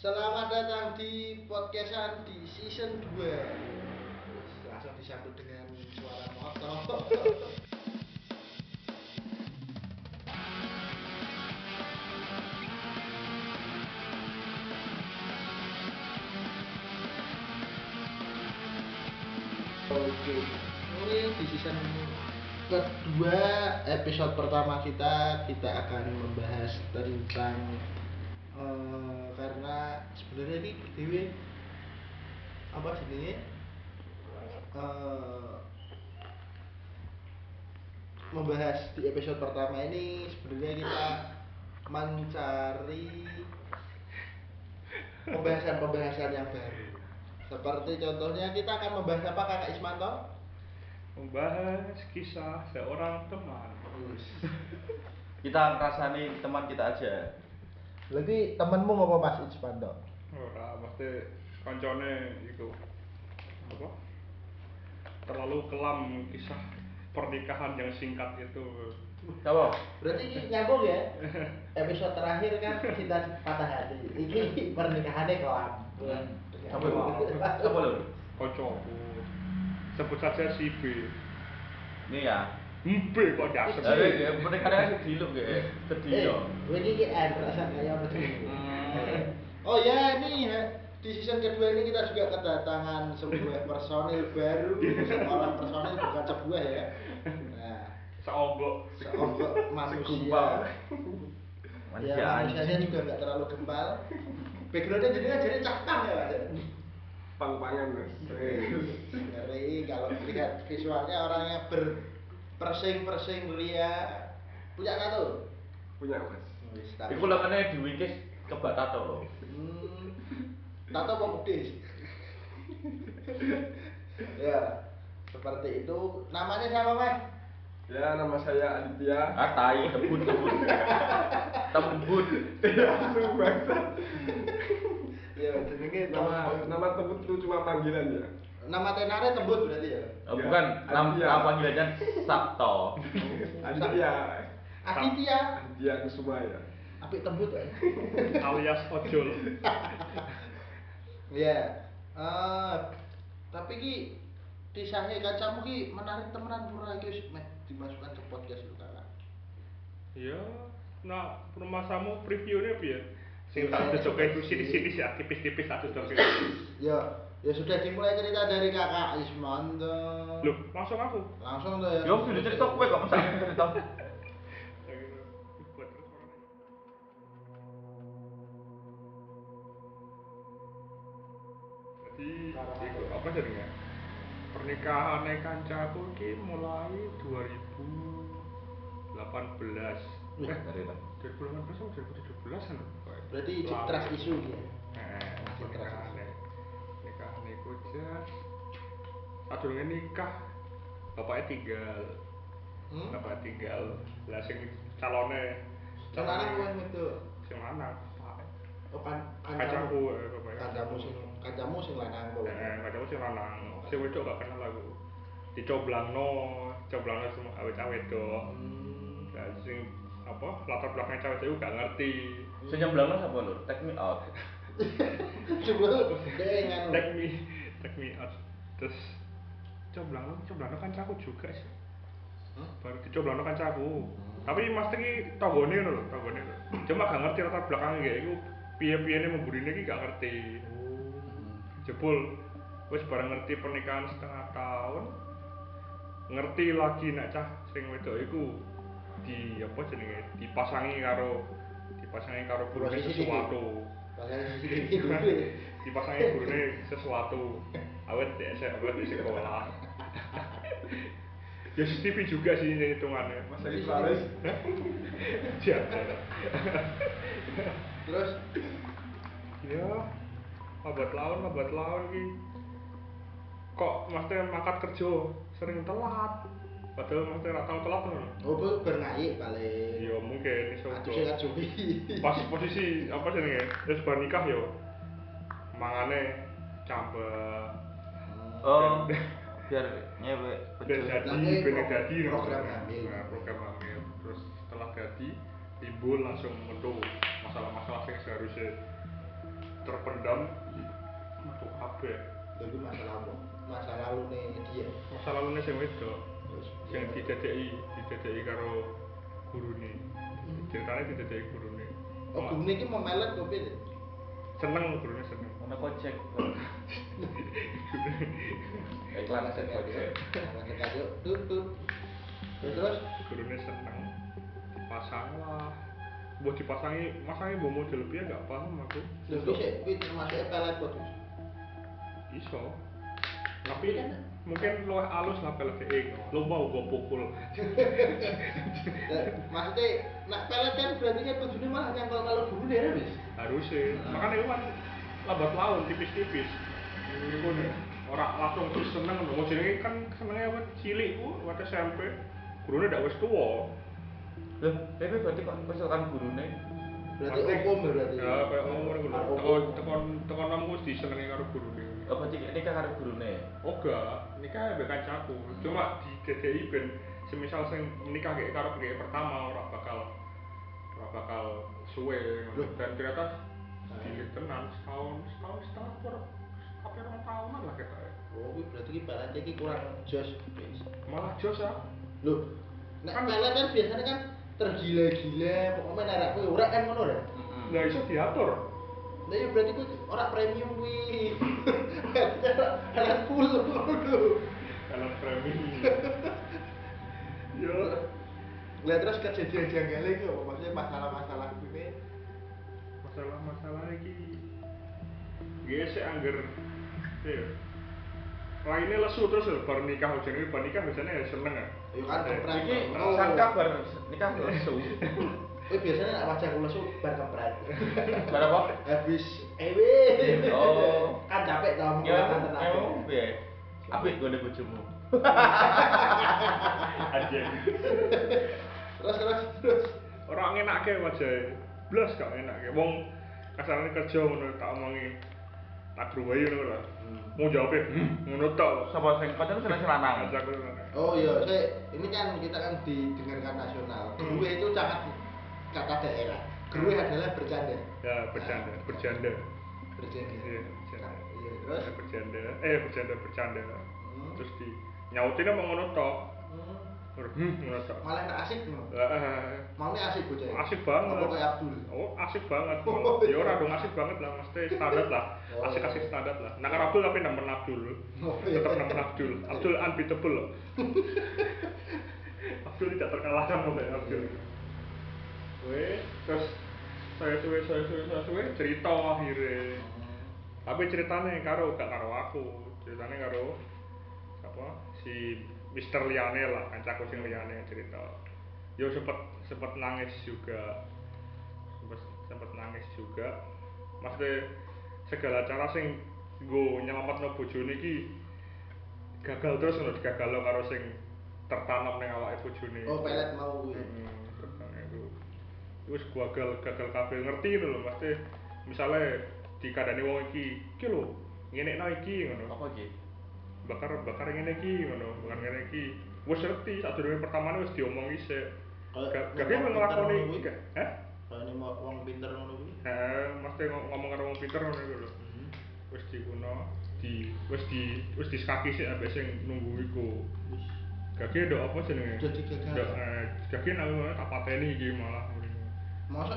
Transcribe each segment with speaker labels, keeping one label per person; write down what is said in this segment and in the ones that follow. Speaker 1: Selamat datang di podcast Andi season 2 Langsung disambut dengan suara motor Oke Ini di season kedua episode pertama kita Kita akan membahas tentang eh, Karena sebenarnya ini Dewi Apa sih eh membahas di episode pertama ini sebenarnya kita mencari pembahasan-pembahasan yang baru. Seperti contohnya kita akan membahas apa Kakak Ismanto?
Speaker 2: membahas kisah seorang teman
Speaker 3: kita ngerasani teman kita aja
Speaker 1: Lagi temenmu ngapa Mas Ismanto?
Speaker 2: ora mesti kancane iku apa terlalu kelam kisah pernikahan yang singkat itu
Speaker 3: coba
Speaker 1: Berarti ini nyambung ya. Episode terakhir kan kita patah hati. Ini pernikahannya kelam.
Speaker 3: coba lu coba lu
Speaker 2: kocokku sebut saja si B
Speaker 3: ini ya
Speaker 2: B kok diasem
Speaker 1: Eh,
Speaker 3: jadi mereka sedih lu kayak sedih
Speaker 1: Eh,
Speaker 3: yo
Speaker 1: ini ki eh, perasaan kayak apa sih?
Speaker 3: Hmm.
Speaker 1: Oh ya, ini ya. Di season kedua ini kita juga kedatangan sebuah personil baru, seorang personil bukan sebuah ya. Nah,
Speaker 2: seombok
Speaker 1: seonggok manusia. Ya,
Speaker 3: Segumpal. manusia
Speaker 1: manusianya juga nggak terlalu gempal. Backgroundnya jadi kan jadi cakar ya, Mas.
Speaker 4: pang-pangan mas
Speaker 1: Ngeri kalau lihat visualnya orangnya ber persing persing ria punya tato.
Speaker 4: punya mas
Speaker 1: Wis, tapi-
Speaker 3: itu lakannya diwikis kebak tato lo
Speaker 1: Hmm, tato apa pedes? ya, seperti itu. Namanya siapa, Mas?
Speaker 4: ya nama saya Aditya
Speaker 3: ah tai tembun tembun tembun
Speaker 4: langsung bangsa
Speaker 1: Ya, jenenge
Speaker 4: nama nama temen itu cuma panggilan ya
Speaker 1: Nama tenare tembut berarti ya.
Speaker 3: Oh, bukan nama
Speaker 4: Aditya.
Speaker 3: nama panggilannya Sabto
Speaker 4: Aditya
Speaker 1: Aditya,
Speaker 4: Aditya Kusuma ya
Speaker 1: apik tembut ya.
Speaker 2: alias ojol
Speaker 1: Ya. Eh, tapi ki kisahnya kancamu ki menarik temenan pura iki wis meh dimasukkan ke podcast lu kakak.
Speaker 2: ya nah permasamu previewnya piye sing
Speaker 1: Saya-
Speaker 2: tak joget itu sinis-sinis ya tipis-tipis tak joget
Speaker 1: Ya, ya sudah dimulai cerita dari kakak Ismanto.
Speaker 2: Loh, langsung aku.
Speaker 1: Langsung tuh ya.
Speaker 3: yo sudah cerita kue kok masa aku cerita
Speaker 2: gitu. Jadi, iku apa jadinya? Pernikahan kancaku ki mulai 2018.
Speaker 1: Wih,
Speaker 2: Eh,
Speaker 3: cerita
Speaker 2: 2018 atau 2017 an pokoknya.
Speaker 1: Berarti cek
Speaker 2: Lama.
Speaker 1: trust isu ya.
Speaker 2: Eh,
Speaker 1: Cek trust
Speaker 2: pernikahan
Speaker 1: isu.
Speaker 2: nikahan iku jas. Sadurunge nikah bapaknya tinggal.
Speaker 1: Hmm?
Speaker 2: Bapak tinggal. Lah sing calone
Speaker 1: Kan anak gue itu
Speaker 2: sing lanang Pak.
Speaker 1: oh kan
Speaker 2: Kacaku eh, bapaknya.
Speaker 1: Kancamu sing kancamu sing lanang kok.
Speaker 2: Eh, kacaku sing lanang. Sing wedok gak kenal aku. Dicoblangno, coblangno semua awet-awet do.
Speaker 1: Hmm.
Speaker 2: Lah sing apa latar belakang cewek itu gak ngerti.
Speaker 3: senyum belakang siapa lo take me out
Speaker 1: Coba dengan
Speaker 2: Take me, take me out. Terus coblangno, coblangno kancaku juga sih.
Speaker 1: Hah?
Speaker 2: Baru dicoblangno kancaku. Tapi Mas Teki tanggone ngono lho, tanggone. Cuma gak ngerti latar belakangnya kayak iku piye-piyene memburine iki gak ngerti. jebol wis bareng ngerti pernikahan setengah tahun ngerti lagi nak cah sing wedok iku di apa jenenge dipasangi karo dipasangi karo burune
Speaker 1: Posisi
Speaker 2: sesuatu
Speaker 1: Pasangan sisi dulu ya.
Speaker 2: dipasangi burune sesuatu awet di SMA awet di sekolah ya CCTV juga sih ini hitungannya
Speaker 4: mas Egi Paris
Speaker 2: Jangan.
Speaker 1: Terus
Speaker 2: ya lambat laun lambat laun ki kok maksudnya makat kerja sering telat padahal maksudnya ora tau telat kan
Speaker 1: opo bernai paling.
Speaker 2: ya mungkin iso
Speaker 1: Aduh saya
Speaker 2: uga.
Speaker 1: kacui.
Speaker 2: pas posisi apa jenenge terus bar nikah yo mangane cambah
Speaker 1: Hmm.
Speaker 3: oh biar nyewek
Speaker 2: dan
Speaker 3: betul
Speaker 2: jadi
Speaker 1: Tapi
Speaker 2: pengen
Speaker 1: pro-
Speaker 2: jadi
Speaker 1: program
Speaker 2: maksudnya.
Speaker 1: hamil.
Speaker 2: Nah, program hamil terus setelah jadi timbul langsung metu masalah-masalah yang seharusnya terpendam metu kabeh.
Speaker 1: Jadi masalah apa? Masa lalu nih dia.
Speaker 2: Masa lalune sing wedok
Speaker 1: Terus
Speaker 2: sing didadeki, didadeki karo gurune. Ceritane didadeki gurune.
Speaker 1: Hmm. Oh, gurune iki memelet kok piye?
Speaker 2: seneng gurune seneng.
Speaker 3: Mana kocek? Iklan
Speaker 1: Iklan
Speaker 3: set kocek.
Speaker 1: aja. Tut tut. Terus Ya, terus
Speaker 2: Gurune seneng. Dipasang lah. Mbok dipasangi, masangi mbok model piye gak paham aku.
Speaker 1: Lho, kuwi sik- kuwi termasuk pelet kok. Terus.
Speaker 2: Iso. Tapi mungkin luwih alus lah peleke. gitu. Lo mau gua pukul.
Speaker 1: Lah, Maksudnya, nak pelet kan berarti kan tujuannya malah nyangkal kalau guru deh, wis.
Speaker 2: harusnya makanya itu kan lambat laun tipis-tipis itu nih orang langsung terus seneng mau jenenge kan senengnya apa cilik ku waktu SMP gurunya dak wis tuwa
Speaker 3: Loh, tapi berarti kok misalkan gurune
Speaker 1: Berarti
Speaker 2: Maksudnya,
Speaker 1: hukum ya, berarti.
Speaker 2: ya kayak umur gitu
Speaker 1: Hukum.
Speaker 2: tekon tekon tekon nomku disenengi karo gurune
Speaker 3: apa cik nikah karo gurune?
Speaker 2: oga nikah mbek kancaku
Speaker 1: Hmm.
Speaker 2: cuma di DDI ben semisal sing nikah kayak karo pria pertama ora bakal ora bakal suwe
Speaker 1: Loh. Eh.
Speaker 2: dan ternyata cilik tenan setahun setahun setengah per apa orang tahunan lah kita ya.
Speaker 1: Oh, kuwi berarti ki pelet iki kurang jos, wis.
Speaker 2: malah jos ah
Speaker 1: Hmm. Loh, nek
Speaker 2: Kan-
Speaker 1: pelet kan biasanya kan tergila-gila, pokoknya narak kuwi ora kan ngono ora.
Speaker 2: nggak bisa diatur
Speaker 1: Lah ya berarti kuwi ora premium kuwi. Berarti kan ora pelet full ngono.
Speaker 2: kalau framing
Speaker 1: Yo. Lah terus kejadian janggal iki apa maksudnya masalah-masalah kuwi
Speaker 2: masalah-masalah lagi gesek angger ya lainnya lesu terus ya, baru nikah ujungnya baru nikah biasanya ya seneng ya
Speaker 1: Yo kan
Speaker 2: Eh,
Speaker 1: kempret.
Speaker 3: Iki
Speaker 1: Oh.
Speaker 3: sak kabar nikah lesu.
Speaker 1: Eh biasanya nak wajah kula su bar kempret.
Speaker 3: Berapa?
Speaker 1: Habis ewe.
Speaker 3: Oh.
Speaker 1: Kan capek tau ngomong
Speaker 3: Ya,
Speaker 1: kan tenaga.
Speaker 3: emang piye? Apik gone bojomu.
Speaker 2: aja
Speaker 1: Terus terus terus.
Speaker 2: orang enak ke wajah blas gak enak ke wong kasarnya kerja ngono tak omongi tak berubah ngono lah mau jawabnya hmm, ngono tau
Speaker 3: Sapa sing kancamu seneng lanang?
Speaker 2: Ajak lu, Nana.
Speaker 1: Oh iya, saya ini kan kita kan didengarkan
Speaker 2: Hmm.
Speaker 1: nasional. Gue itu sangat kata daerah. Gue adalah bercanda.
Speaker 2: ya bercanda bercanda
Speaker 1: Bercanda.
Speaker 2: iya bercanda
Speaker 1: Nah, Iya, terus.
Speaker 2: terus bercanda eh bercanda bercanda
Speaker 1: Hmm.
Speaker 2: terus di nyautinnya mau ngono tau
Speaker 1: Hmm,
Speaker 2: hmm ngono tau
Speaker 1: Malah tak asik no.
Speaker 2: Eh,
Speaker 1: Maunya asik bocah.
Speaker 2: asik banget.
Speaker 1: Apa kayak Abdul? iya.
Speaker 2: Oh, asik banget. ya ora dong asik banget lah, mesti standar lah. Asik-asik standar lah. Nah, kan Abdul tapi nemen Abdul.
Speaker 1: Oh, iya.
Speaker 2: Tetap nemen Abdul. Abdul unbeatable loh. Abdul tidak terkalahkan oleh Abdul. Weh, terus saya suwe saya suwe saya suwe cerita akhirnya.
Speaker 1: Oh.
Speaker 2: Tapi ceritanya karo gak karo aku. Ceritanya karo apa si Mister Liane lah, kancaku sing Liane cerita. Yo sempet sempet nangis juga. Sempet sempet nangis juga. Maksudnya segala cara sing nggo nyelametno bojone iki gagal terus ngono digagalno karo sing tertanam ning awake bojone.
Speaker 1: Oh, pelet mau gue.
Speaker 2: Hmm, terbang itu terus gua gagal gagal kabeh ngerti itu loh pasti misalnya dikadani wong iki iki lho ngene no iki ngono
Speaker 3: Apa iki?
Speaker 2: bakar bakar ngene iki ngono bakar ngene iki wis ngerti sadurunge pertamane wis diomongi sik
Speaker 1: Kayak
Speaker 2: Ga-
Speaker 1: ngomong pinter
Speaker 2: gagal nglakoni
Speaker 1: ngono kuwi.
Speaker 2: ga- heh
Speaker 1: Kalau ini mau uang pinter ngono gue.
Speaker 2: Heeh, mesti ngom- ngomong karo wong pinter ngono iku lho
Speaker 1: Mhm.
Speaker 2: wis diuno di wis di wis diskaki sik ambek sing nunggu iku gage ndok apa jenenge
Speaker 1: Dadi gagal.
Speaker 2: Ndok, eh, gage nek tak pateni iki malah
Speaker 1: Masa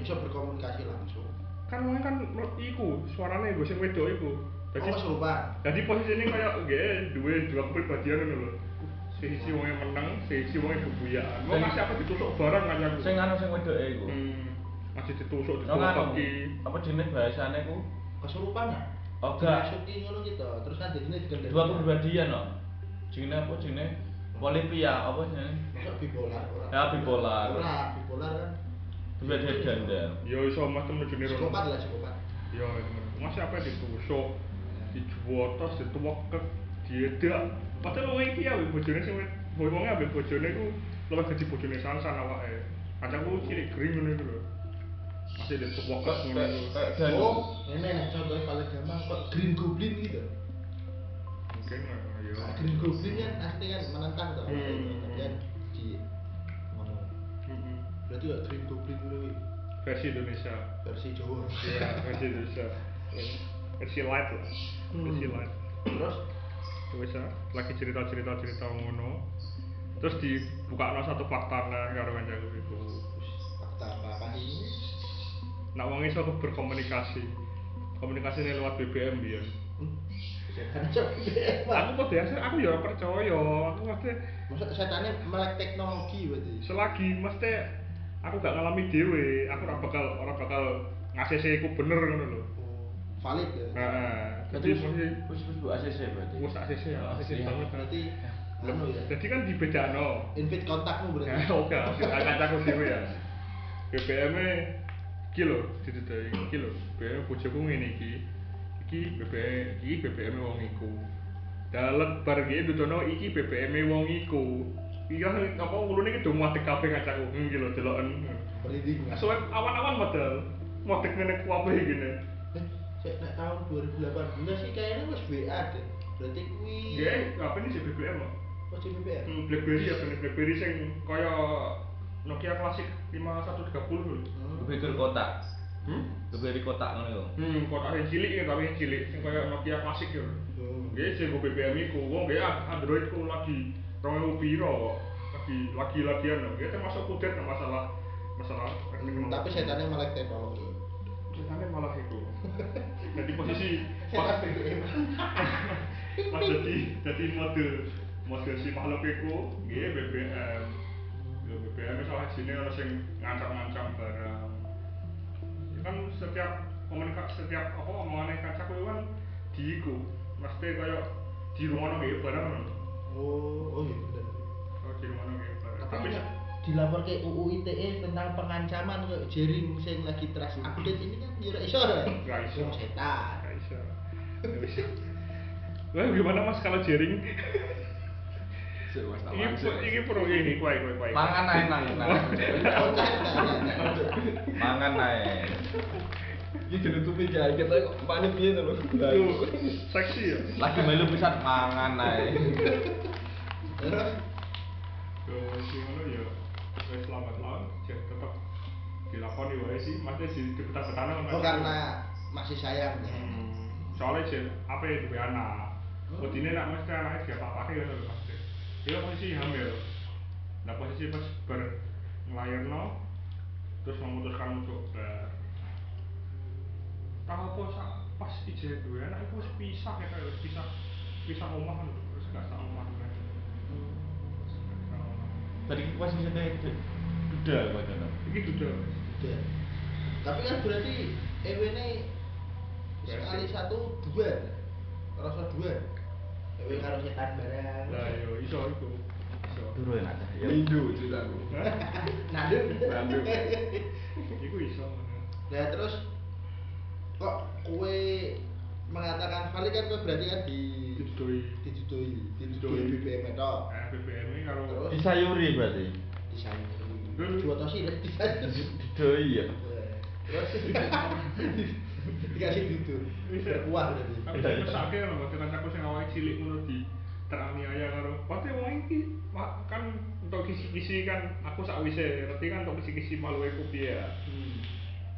Speaker 1: ya? bisa berkomunikasi langsung.
Speaker 2: kan wong kan menurut iku suarane gue sing wedok iku
Speaker 1: Oh,
Speaker 2: jadi
Speaker 1: kesurupan.
Speaker 2: jadi posisinya kayak gue dua dua kepribadian ngono lho sisi wong yang menang sisi wong yang kebuyaan mau
Speaker 3: Sing-
Speaker 2: ngasih apa ditusuk barang kan yang
Speaker 3: Sing anu sing wedoke iku.
Speaker 2: hmm, masih ditusuk
Speaker 3: Nang anu.
Speaker 2: ditusuk ki
Speaker 3: Apa jenenge bahasane ku?
Speaker 1: Kesurupan ya?
Speaker 3: Oh, enggak.
Speaker 1: Dimasuki ngono gitu. Terus kan jadinya dikendali.
Speaker 3: Dua kepribadian loh. Jenenge apa jenenge? Polipia apa jenenge?
Speaker 1: Masa bipolar ora?
Speaker 3: Ya, bipolar.
Speaker 1: Ora, bipolar kan.
Speaker 3: Kepribadian ganda.
Speaker 2: ya iso mas temen juni
Speaker 1: Psikopat lah psikopat.
Speaker 2: ya temen masih apa ditusuk dijuwotos dituwekek diedak padahal wong iki ya wong bojone sing wed- wong wonge ambek bojone ku luwih gede bojone sansan awake kadangku cilik gering ngono iku lho masih dituwekek
Speaker 3: Kayak-
Speaker 2: ngono
Speaker 3: kayak-
Speaker 2: iku.
Speaker 3: kayak danu.
Speaker 1: Oh, ini nih contohnya paling gampang kok Green Goblin gitu.
Speaker 2: mungkin eh,
Speaker 3: Iya.
Speaker 2: ya
Speaker 1: Nah, Green Goblin kan asli kan menentang tuh.
Speaker 2: Hmm.
Speaker 1: Tapi kan di ngomong.
Speaker 2: Mm-mm.
Speaker 1: Berarti kok Green Goblin dulu.
Speaker 2: versi Indonesia
Speaker 1: versi Jawa.
Speaker 2: Iya, versi Indonesia versi light lah versi light
Speaker 1: Terus
Speaker 2: terus ya, lagi cerita cerita cerita ngono terus dibuka satu fakta kan karo kancaku itu
Speaker 1: fakta apa apa ini?
Speaker 2: nak wong iso berkomunikasi komunikasi ini lewat BBM biyen.
Speaker 1: Hmm, Setan coba.
Speaker 2: aku kok biasa aku ya ora percaya aku mesti
Speaker 1: Maksud setannya melek teknologi berarti.
Speaker 2: selagi mesti aku gak ngalami dhewe aku ora bakal ora bakal ngasih iku bener ngono lho
Speaker 1: Valid ya.
Speaker 2: Nah, jadi
Speaker 3: Berarti
Speaker 2: mesti
Speaker 3: wis wis bu ACC berarti.
Speaker 2: wis ACC ya, ACC
Speaker 3: Iya.
Speaker 2: banget kan.
Speaker 1: Berarti anu ya.
Speaker 2: Jadi kan dibedakno.
Speaker 1: Invite kontakmu
Speaker 2: Ya,
Speaker 1: berarti.
Speaker 2: oke, akan aku dhewe ya. BBM e iki lho, didedeki iki lho. BBM e bojoku ngene iki. Iki BBM, iki BBM e wong iku. Dalet bar iki dudono iki BBM e wong iku. Iya, apa ulune iki do muatek kabeh ngacaku. Hmm, iki lho deloken.
Speaker 1: Merinding.
Speaker 2: Soalnya awan-awan model modek ngene kuwi gini.
Speaker 1: Eh, Saya nak tahun 2018 sih kayaknya wis WA deh. Berarti kuwi
Speaker 2: Ya, apa ini sih BBM loh?
Speaker 1: Wis di BBM.
Speaker 2: Hmm, Blackberry ya, bener Blackberry sing kaya Nokia klasik 5130 dulu.
Speaker 3: Berpikir kotak.
Speaker 2: Hmm?
Speaker 3: Berpikir kotak ngono yo.
Speaker 2: Hmm, kotak yang cilik ya, tapi yang cilik sing kaya Nokia klasik ya.
Speaker 1: Hmm.
Speaker 2: Nggih, sing go BBM iku wong nggih ah, Android ku lagi 2000 piro lagi lagi lagian lho. Nggih termasuk kudet nang masalah masalah teknik.
Speaker 1: Hmm, Tapi setannya melek teknologi.
Speaker 2: Ceritanya malah itu. Jadi posisi
Speaker 1: Setan
Speaker 2: pas-
Speaker 1: BBM.
Speaker 2: Mas jadi jadi mode mode si makhluk iku nggih BBM. Ya BBM itu salah sini ono sing ngancam-ngancam barang. Ya kan setiap komunikasi setiap apa omongane kaca kuwi kan diiku. Mesti kaya di rumah nggih barang.
Speaker 1: Oh, oh iya bener.
Speaker 2: Kaya di rumah nggih barang.
Speaker 1: Tapi
Speaker 2: Tapi
Speaker 1: nek dilapor ke UU ITE E tentang pengancaman ke jaring sing lagi trust update ini kan jurek iso ya.
Speaker 2: Nggak iso.
Speaker 1: Wong setan.
Speaker 2: nggak bisa. Nggak bisa. Wah, Eh, gimana Mas kalau jaring?
Speaker 4: Sik, wes tak
Speaker 2: Ini
Speaker 4: langsung.
Speaker 2: ini perlu ini kuai kuai kuai.
Speaker 3: Mangan ae nang nang. Mangan ae.
Speaker 4: Iki ditutupi kayak kita kok panik piye to lho. Lah,
Speaker 2: Aduh, seksi ya.
Speaker 3: Lagi melu pisan mangan ae.
Speaker 1: Terus
Speaker 2: Yo, sing ngono ya wis selamat lawan ya tetep dilakoni wae sih, maksudnya di dibetah-betahno kan.
Speaker 1: oh karena masih sayang ya.
Speaker 2: Hmm, soalnya jen apa ya duwe anak.
Speaker 1: Oh.
Speaker 2: Kudine nak mesti anake dia papake ya lho pasti. Dia posisi hamil. Nah posisi pas ber nglairno terus memutuskan untuk ber tahu apa sak pas ijek duwe anak itu wis pisah ya kayak wis pisah pisah omah kan terus gak sak omah. kan.
Speaker 1: Oh.
Speaker 2: Terus gak sak omah.
Speaker 3: Tadi ku pas bisa teh duda padahal.
Speaker 2: Iki duda.
Speaker 1: Udah. Tapi kan berarti EW ini sekali
Speaker 2: Berarti.
Speaker 1: satu dua. Rasa dua. EW kalau nyetan barang.
Speaker 2: Lah yo iso iku. Iso.
Speaker 3: Duru enak dah, ya.
Speaker 4: Lindu ceritaku.
Speaker 2: Hah?
Speaker 1: Nandu.
Speaker 4: Nandu.
Speaker 2: Iku iso.
Speaker 1: Nah terus kok kue mengatakan valid kan kue berarti kan di
Speaker 2: Didoi.
Speaker 1: didudoi didudoi
Speaker 2: Didudoi.
Speaker 1: BBM itu
Speaker 2: Eh BBM ini karo
Speaker 1: Terus?
Speaker 3: Disayuri berarti.
Speaker 1: disayang
Speaker 2: Hmm.
Speaker 1: dua tosi dan disayang
Speaker 3: Doi ya.
Speaker 1: terus dikasih gitu berkuah berarti
Speaker 2: Tapi sing mesake lho Mas kancaku sing awake cilik ngono di teraniaya karo pate wong iki Mak, kan untuk kisi-kisi kan aku sak wise ngerti kan untuk kisi-kisi malu iku piye ya.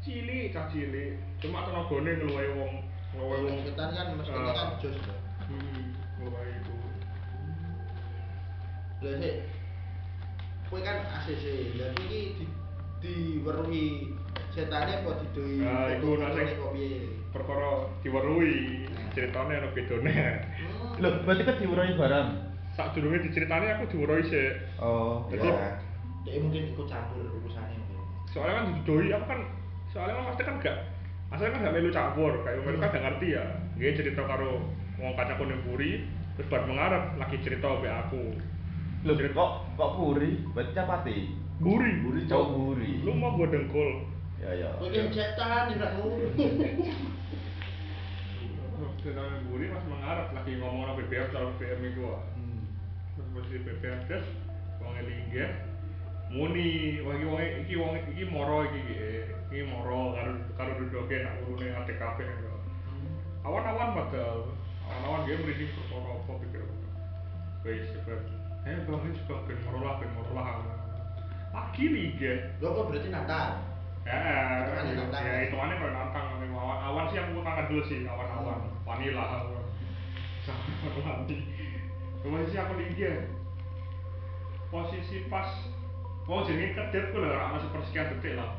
Speaker 2: Cilik cah cilik cuma tenagane ngeluwe wong ngeluwe wong
Speaker 1: Ketan kan mestinya
Speaker 2: Eh,
Speaker 1: kan jos Hmm, ya.
Speaker 2: hmm, ngeluwe iku.
Speaker 1: Lah sih, kowe kan ACC, lah kowe iki di diweruhi setane apa didoi?
Speaker 2: Nah, Ah, iku
Speaker 1: teknik-
Speaker 2: nek sing-
Speaker 1: teknik kok piye?
Speaker 2: Perkara diweruhi ceritane ana bedone.
Speaker 1: Hmm.
Speaker 3: Loh, berarti kan diurai barang.
Speaker 2: Sak durunge diceritani aku diweruhi sik.
Speaker 3: Oh,
Speaker 2: Jadi-
Speaker 3: iya.
Speaker 1: Dek mungkin ikut campur urusannya mungkin.
Speaker 2: soalnya kan didoi aku kan soalnya kan maksudnya kan gak asalnya kan gak melu campur kayak umur kan gak ngerti ya dia cerita karo wong kaca konempuri terus bar mengarep lagi cerita be aku
Speaker 3: Loh, kok kok puri? Berarti capati.
Speaker 2: buri
Speaker 3: Buri, cowok buri.
Speaker 2: lu mau buat dengkul
Speaker 3: Ya ya.
Speaker 1: Kowe iki setan tidak ngono.
Speaker 2: cerita buri mas mengarep lagi ngomong sama BBM soal BBM itu wah terus posisi BBM terus wong lingga muni wah iki wong iki wong iki moro iki iki iki moro karo karo dudoke nak urune ngadek kabeh gitu. awan-awan bakal awan-awan dia merinding perkara apa pikir aku. wis sebab eh bang wis bang ben morolah ben morolah lagi liga
Speaker 1: Lho kok berarti Natal.
Speaker 2: Ya,
Speaker 5: Hitungannya
Speaker 2: kan gitu.
Speaker 5: nantang.
Speaker 2: ya hitungannya kalau nantang tapi awan, awan sih aku tangan dulu sih awan-awan
Speaker 5: Hmm.
Speaker 2: vanilla aku. sama melati. Posisi aku liga. Posisi pas mau jadi kedep gue lah, masih persekian detik lah.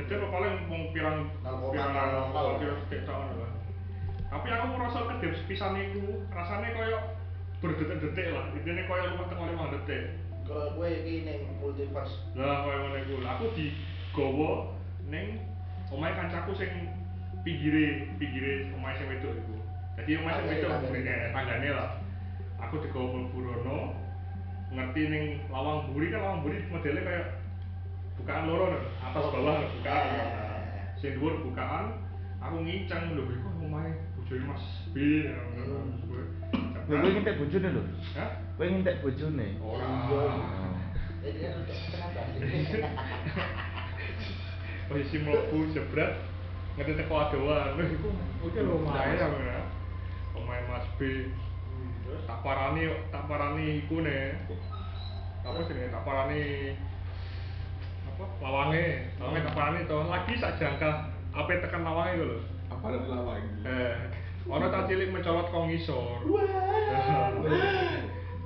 Speaker 2: Kedep apa paling mau pirang
Speaker 5: Nol koma,
Speaker 2: pirang
Speaker 5: nol
Speaker 2: nol
Speaker 5: koma.
Speaker 2: koma, pirang detik tahun lah. Tapi aku merasa kedep sepisan itu rasanya koyo berdetik-detik lah. Intinya koyo rumah tengah lima detik.
Speaker 1: Kalau gue ini neng multiverse.
Speaker 2: Lah koyo ngene iku. Lah, Aku digowo ning omahe kancaku sing pinggire, pinggire omahe sing wedok iku. Dadi omahe
Speaker 5: Tanggane,
Speaker 2: sing wedok
Speaker 5: tanggane.
Speaker 2: mrene tanggane lah. Aku digowo mlebu rono ngerti ning lawang buri kan lawang buri modelnya kayak bukaan loro lho, atas bawah lho, bukaan. Sing dhuwur bukaan, aku ngincang lho iku omahe bojone Mas B. ya, ngono. Gue
Speaker 3: Hmm. Lho kowe ngintek bojone lho.
Speaker 2: Hah?
Speaker 3: Kowe ngintek bojone.
Speaker 2: Ora.
Speaker 5: Jadi kan untuk kenapa sih?
Speaker 2: posisi mlebu jebret ngerti teko adoan lho iku oke lho main aku ya pemain Mas B tak parani tak parani iku ne apa jenenge tak parani apa lawange lawange tak parani to lagi sak jangka ape tekan lawange iku lho
Speaker 4: Apa ada lawang?
Speaker 2: eh ono tak cilik mencolot kong ngisor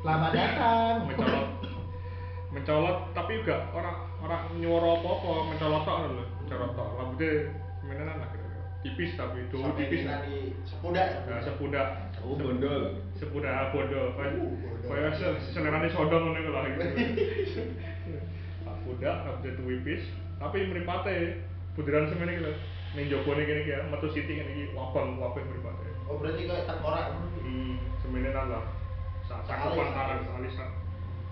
Speaker 5: Selamat datang.
Speaker 2: mencolot mencolot tapi juga orang orang nyuara apa apa mencolot tok lho mencolot tok rambutnya menenan lah kira-kira tipis tapi itu
Speaker 5: Sampai
Speaker 2: tipis
Speaker 5: kita di sepudak.
Speaker 2: nah, sepundak
Speaker 4: Oh bondol.
Speaker 2: sepundak bodoh kayak
Speaker 5: Uh, bodoh.
Speaker 2: kayak se- selerane sodong ngono iku lah gitu tak pundak rambutnya tipis tapi mripate bunderan semene iki lho ning jobone kene iki ya metu sithik ngene iki wabang wabang mripate
Speaker 5: Oh berarti kayak tengkorak.
Speaker 2: di semilinan lah Sa- cakupan tangan salisan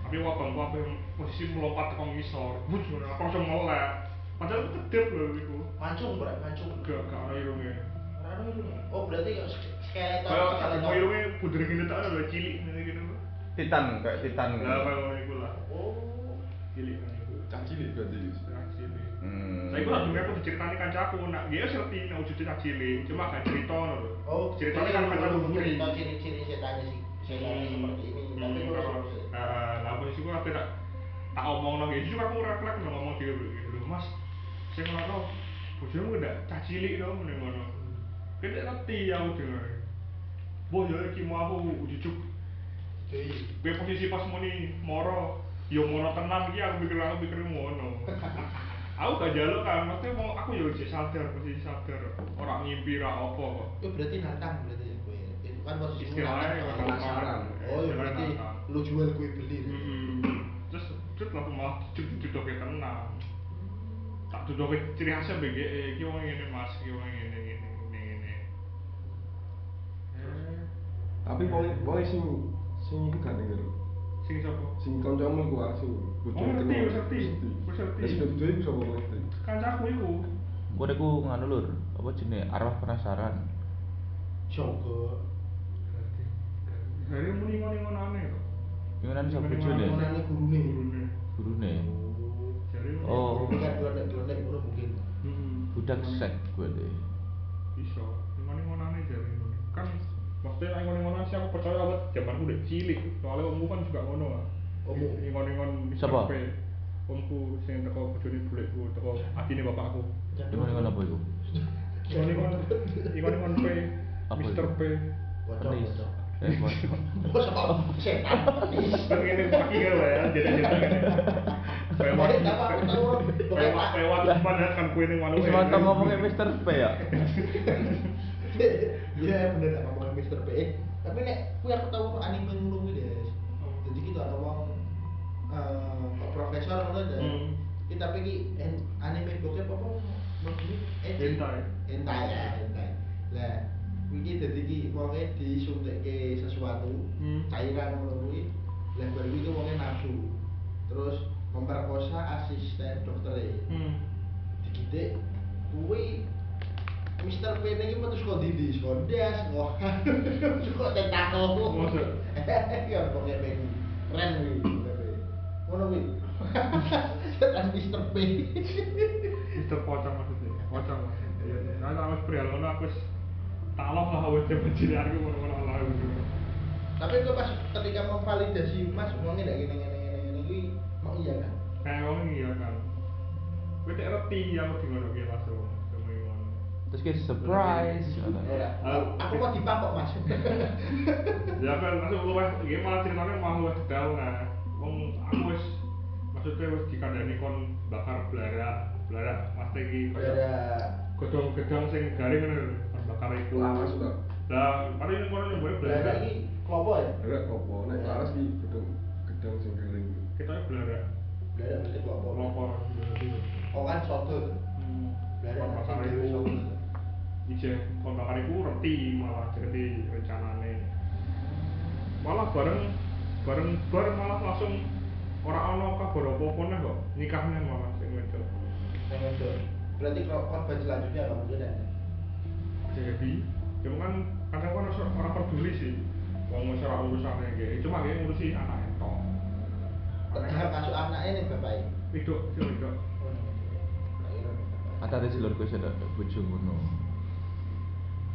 Speaker 2: tapi wabang wabang posisi melompat ke ngisor bus aku langsung ngelek padahal itu kedip loh itu
Speaker 1: Mancung berat, mancung.
Speaker 2: gak gak ada irungnya
Speaker 1: Rano itu. Oh berarti kayak skeleton.
Speaker 2: kalau ada
Speaker 1: skeleton.
Speaker 2: mau irungnya buder gini tak ada cilik gini gini Bu.
Speaker 3: Titan kayak titan.
Speaker 2: lah kalau orang itu lah
Speaker 1: Oh.
Speaker 2: cilik kan itu
Speaker 4: Caci nih berarti.
Speaker 2: Nah, cilik
Speaker 3: Hmm.
Speaker 2: saya itu langsungnya aku diceritani kancaku nak dia ngerti nak wujudnya tak cilik cuma gak cerita loh
Speaker 1: Oh,
Speaker 2: ceritanya
Speaker 1: jadi
Speaker 2: kan
Speaker 1: lu-
Speaker 2: kancaku
Speaker 1: lu
Speaker 2: buri
Speaker 1: cerita
Speaker 5: Ciri-ciri setannya sih. Setannya
Speaker 2: Hmm.
Speaker 5: seperti ini. Tapi
Speaker 2: tapi
Speaker 5: gue
Speaker 2: kalau eh, lah posisi gua aku tak tak omong lagi justru aku refleks nggak ngomong dia gitu loh mas saya ngeliat bojomu udah cah cilik dong mending ngono kita ngerti ya udah boh ya iki mau aku jujuk
Speaker 1: Jadi
Speaker 2: gue posisi pas muni moro yo moro tenang iki aku pikir aku pikir ngono aku gak jaluk kan maksudnya mau aku yo sih sadar posisi sadar orang ngimpi ra apa kok
Speaker 1: itu Oh, berarti nantang berarti ya gue. Itu kan posisi
Speaker 2: istilahnya
Speaker 1: nantang.
Speaker 2: orang
Speaker 4: penasaran.
Speaker 1: Oh, ya berarti lu jual gue beli.
Speaker 2: Hmm. terus terus langsung malah dijodohke tenang tak jodohke ciri khasnya BGE iki wong ngene mas iki wong ngene ngene ngene ngene Eh,
Speaker 4: Tapi pokoknya pokoknya sing sing itu gak denger.
Speaker 2: sing sapa
Speaker 4: Sing kancamu iku asu.
Speaker 2: Oh, ngerti, ngerti. Ngerti.
Speaker 4: Ya sudah butuh itu sama ngerti.
Speaker 2: kancaku iku
Speaker 3: Kowe niku nganu lur, apa jenenge? Arwah penasaran.
Speaker 1: Jogo.
Speaker 2: dari muni muni ngono aneh kok
Speaker 3: Gimana nih sama
Speaker 2: Gimana
Speaker 3: bojone?
Speaker 2: nih?
Speaker 1: Mana nih gurune?
Speaker 2: gurune
Speaker 3: Gurune.
Speaker 2: jare muni.
Speaker 3: Oh.
Speaker 1: Ini kan dua dua dua dua mungkin.
Speaker 2: Hmm.
Speaker 3: Budak
Speaker 2: Muni.
Speaker 3: sek gue deh.
Speaker 2: bisa ngomongin ngonane jare ngono. kan maksudnya nek ngomongin ngonan sih aku percaya awet jamanku udah cilik soalnya omku kan juga ngono ah
Speaker 1: Ommu?
Speaker 2: ngomongin ngon
Speaker 3: Siapa?
Speaker 2: omku sing teko bojone bulekku teko adine bapakku
Speaker 3: Gimana kan apa itu?
Speaker 2: ngomongin ngon ngomongin ngon P
Speaker 3: Apa
Speaker 2: Mr.
Speaker 3: itu?
Speaker 2: P
Speaker 1: Bocor
Speaker 3: Penis.
Speaker 1: bocor.
Speaker 3: Eh, bocor.
Speaker 1: Bos apa? Setan.
Speaker 2: kan ngene pagi ya lah ya jadi jadi lewat
Speaker 1: Nggak apa-apa, tahu.
Speaker 2: lewat lewat padahal kan kuwi ning
Speaker 3: Wis
Speaker 2: manuke
Speaker 3: mantap ngomongnya Mr. P ya.
Speaker 1: Iya bener tak ngomongin Mr. P. Tapi nek kuwi aku tau anime ngono kuwi deh.
Speaker 2: Hmm.
Speaker 1: Jadi kita ada wong eh, profesor ngono deh.
Speaker 2: Hmm.
Speaker 1: Kita tapi ki en- anime bokep apa maksudnya? Ecchi.
Speaker 2: Hentai.
Speaker 1: Hentai ya, hentai. Lah kuwi dadi ki wonge disuntikke sesuatu
Speaker 2: Hmm.
Speaker 1: cairan ngono kuwi. Lah baru iki wonge nafsu. Terus memperkosa asisten e. dokternya
Speaker 2: hmm
Speaker 1: dikitik kuwi Mister P ini metu saka dindi, saka ndas, saka saka tentakel.
Speaker 2: Masa?
Speaker 1: Ya pokoke pengen keren kuwi. Mr. P. Ngono kuwi. Setan Mister P.
Speaker 2: Mister Pocong maksudnya, Pocong. Nah, aku harus pria lono, aku harus taloh lah awet jaman cilik aku gitu. mau ngono lah.
Speaker 1: Tapi itu pas ketika memvalidasi Mas ngomongnya ndak ngene ngene ngene ngene kuwi mau iya kan?
Speaker 2: Kayak wong iya kan. ya, Kowe tak ngerti aku di ngono ki Mas Rum. Demi ngono.
Speaker 4: Terus kayak surprise.
Speaker 2: Ah.
Speaker 1: Aku kok dipang kok mas.
Speaker 2: Ya kan masuk luwes iki malah ceritanya malah luwes detail nah. Wong aku wis maksudnya wis dikandani kon bakar belara, belara Mas iki
Speaker 1: Ada
Speaker 2: gedong-gedong sing garing ngono lho, kon bakar iku.
Speaker 4: Lama sudah.
Speaker 2: Lah, paling kono nyembur
Speaker 1: belanda
Speaker 2: belara.
Speaker 1: ini kelompok ya.
Speaker 4: Ada apa? Nek laras di gedung gedung sing garing.
Speaker 2: Kita belara.
Speaker 1: Belanda mesti kelompok.
Speaker 2: Pelopor. gitu,
Speaker 1: Oh kan soto.
Speaker 2: Hmm.
Speaker 1: Belanda
Speaker 2: Kon bakar
Speaker 1: kan
Speaker 2: iku.
Speaker 1: soto.
Speaker 2: Ije kon bakar iku reti malah jadi rencanane. Malah bareng bareng bar malah langsung ora ana kabar apa-apa neh kok nikahnya malah sing wedok.
Speaker 1: Yang itu. Berarti kalau korban selanjutnya nggak mungkin ada.
Speaker 2: Jadi, cuma kan kadang kan orang- orang peduli sih. Wong wis ora urusannya kayak cuma dia ngurusi anaknya tok.
Speaker 1: Ternyata masuk anaknya nih bapak ini.
Speaker 2: Widok, sih widok.
Speaker 3: Ada rezeki lho kowe sedak bojo ngono.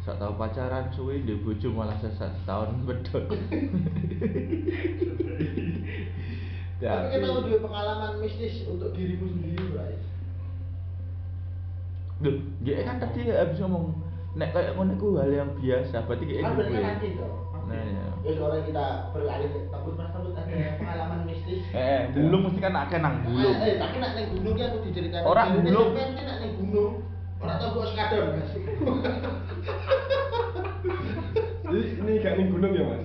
Speaker 3: Sak tau pacaran suwe ndek bojo malah sesat setahun bedok.
Speaker 1: Tapi kita
Speaker 3: Tapi-
Speaker 1: udah pengalaman mistis untuk dirimu sendiri, guys.
Speaker 3: Loh, dia kan tadi habis ngomong nek kayak ngono iku hal yang biasa, berarti kayak
Speaker 1: Kan berarti
Speaker 3: gue.
Speaker 1: kan anjing toh.
Speaker 3: Nah, ya.
Speaker 1: Terus orang kita beralih ke takut mas takut ada pengalaman mistis.
Speaker 3: Eh, bulung mesti kan akeh nang bulung.
Speaker 1: Eh, tapi nak neng gunung ya aku diceritain.
Speaker 3: Orang
Speaker 1: Jadi,
Speaker 3: gunung.
Speaker 1: sampean ki nak neng gunung. Orang tahu gue sekadar mas.
Speaker 4: Jadi ini gak ning gunung ya, Mas?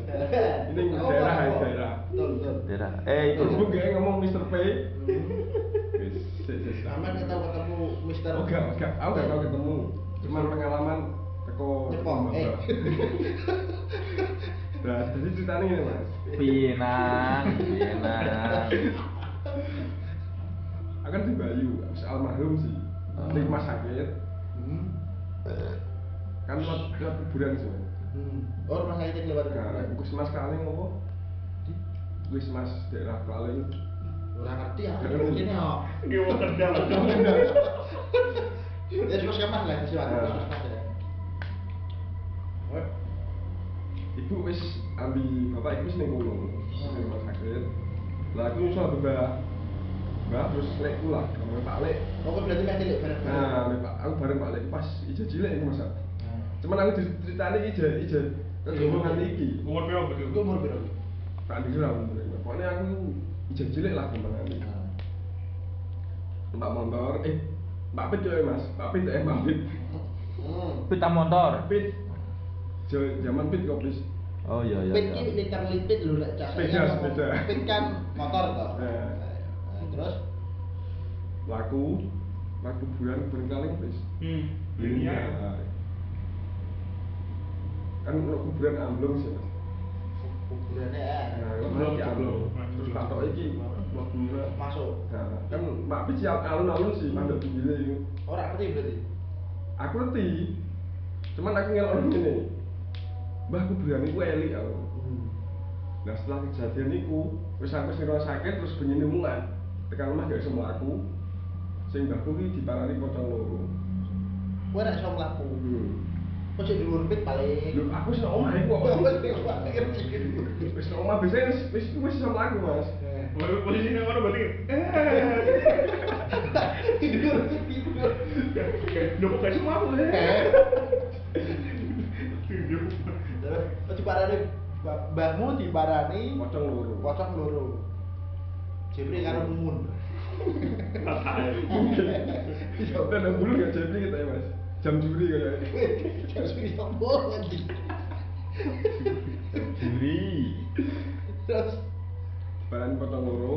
Speaker 4: Ini
Speaker 1: Tahu,
Speaker 4: daerah
Speaker 1: Mas, kok.
Speaker 4: daerah.
Speaker 1: Betul betul.
Speaker 3: Daerah. Eh, itu.
Speaker 4: Terus gue kayak ngomong Mr. P. Wis, wis, wis.
Speaker 1: Aman kita ketemu Mister.
Speaker 4: Oh enggak, enggak. Aku enggak tau ketemu. Cuman pengalaman teko
Speaker 1: Jepang, eh.
Speaker 4: Nah, jadi ceritanya gini, Mas.
Speaker 3: Pinang, pinang.
Speaker 4: Aku kan di Bayu, habis almarhum sih.
Speaker 3: Oh.
Speaker 4: Di rumah sakit.
Speaker 1: Hmm.
Speaker 4: Kan lewat lewat kuburan sih.
Speaker 1: Hmm. Oh rumah sakit yang lewat
Speaker 4: Nah,
Speaker 1: kuburan.
Speaker 4: Gus Mas Kaleng apa? Gus Mas daerah Kaleng.
Speaker 1: Orang ngerti aku mungkin ya.
Speaker 2: Dia mau kerja lah.
Speaker 1: Ya cuma siapa lah siapa?
Speaker 4: Nah. Ibu wis ambil bapak ibu wis ning ngono. Ning rumah sakit. Lah aku nyusul ambil Mbak. Mbak terus lek ku lah, sama Pak Lek.
Speaker 1: Oh kok berarti masih lihat bareng bareng.
Speaker 4: Nah, ambil Pak aku bareng Pak Lek pas ija cilik iku Mas. Cuman aku diceritani ija ija. Terus
Speaker 1: Iya,
Speaker 4: ngomong
Speaker 1: iya.
Speaker 4: nganti iki.
Speaker 2: Umur piro betul?
Speaker 1: Gue mau berapa?
Speaker 4: Tak dikira umurnya. Pokoknya aku ija cilik lah kembangane. Mbak motor eh Mbak Pit ya Mas. Mbak Pit eh Mbak Pit.
Speaker 1: Hmm.
Speaker 3: Pita motor.
Speaker 4: Pit. Jo- Zaman Pit kok wis
Speaker 3: Oh iya iya.
Speaker 1: Pit
Speaker 3: iya.
Speaker 1: ini liter lipit lho lek cak.
Speaker 4: Sepeda,
Speaker 1: Saya ngomong,
Speaker 4: sepeda.
Speaker 1: Pit kan motor toh.
Speaker 4: Iya.
Speaker 1: Nah, Terus
Speaker 4: laku laku bulan berkali wis
Speaker 2: Hmm.
Speaker 4: Iya.
Speaker 2: Dunia.
Speaker 4: kan untuk kuburan amblong sih mas
Speaker 1: kuburannya eh,
Speaker 4: nah kan
Speaker 2: Amblong,
Speaker 4: lagi amblong
Speaker 2: amblong.
Speaker 4: terus tak tahu iki waktu
Speaker 1: masuk.
Speaker 4: nah kan mak Pit siap alun-alun sih mandok pinggirnya itu
Speaker 1: Orang ngerti berarti.
Speaker 4: aku ngerti cuman aku ngelok ini mbah kuburan itu elik aku nah setelah kejadian itu terus aku sing rumah sakit terus bunyi mulai tekan rumah gak semua aku sing mbahku ini diparani pocong loro
Speaker 1: Gue nak sama laku.
Speaker 4: Hmm.
Speaker 1: Kok sih dulur pit
Speaker 4: Lho,
Speaker 1: paling.
Speaker 4: aku sih omah iku
Speaker 1: Gue
Speaker 4: kok.
Speaker 1: ngerti gitu.
Speaker 4: Wis nang omah biasanya wis wis wis iso mlaku, Mas.
Speaker 2: Baru eh, posisi nang ngono balik.
Speaker 1: Tidur tidur.
Speaker 2: Lho kok gak semua aku. eh.
Speaker 1: Eh. Terus kok diparani ba- mbahmu diparani
Speaker 4: Pocong loro.
Speaker 1: pocong loro. Jepri karo mumun.
Speaker 4: Iya, udah nang bulu gak jadi kita ya, Mas. Jam juri kayaknya.
Speaker 1: Terus bisa bohong lagi.
Speaker 3: Juri.
Speaker 1: Terus
Speaker 4: Barang pocong loro.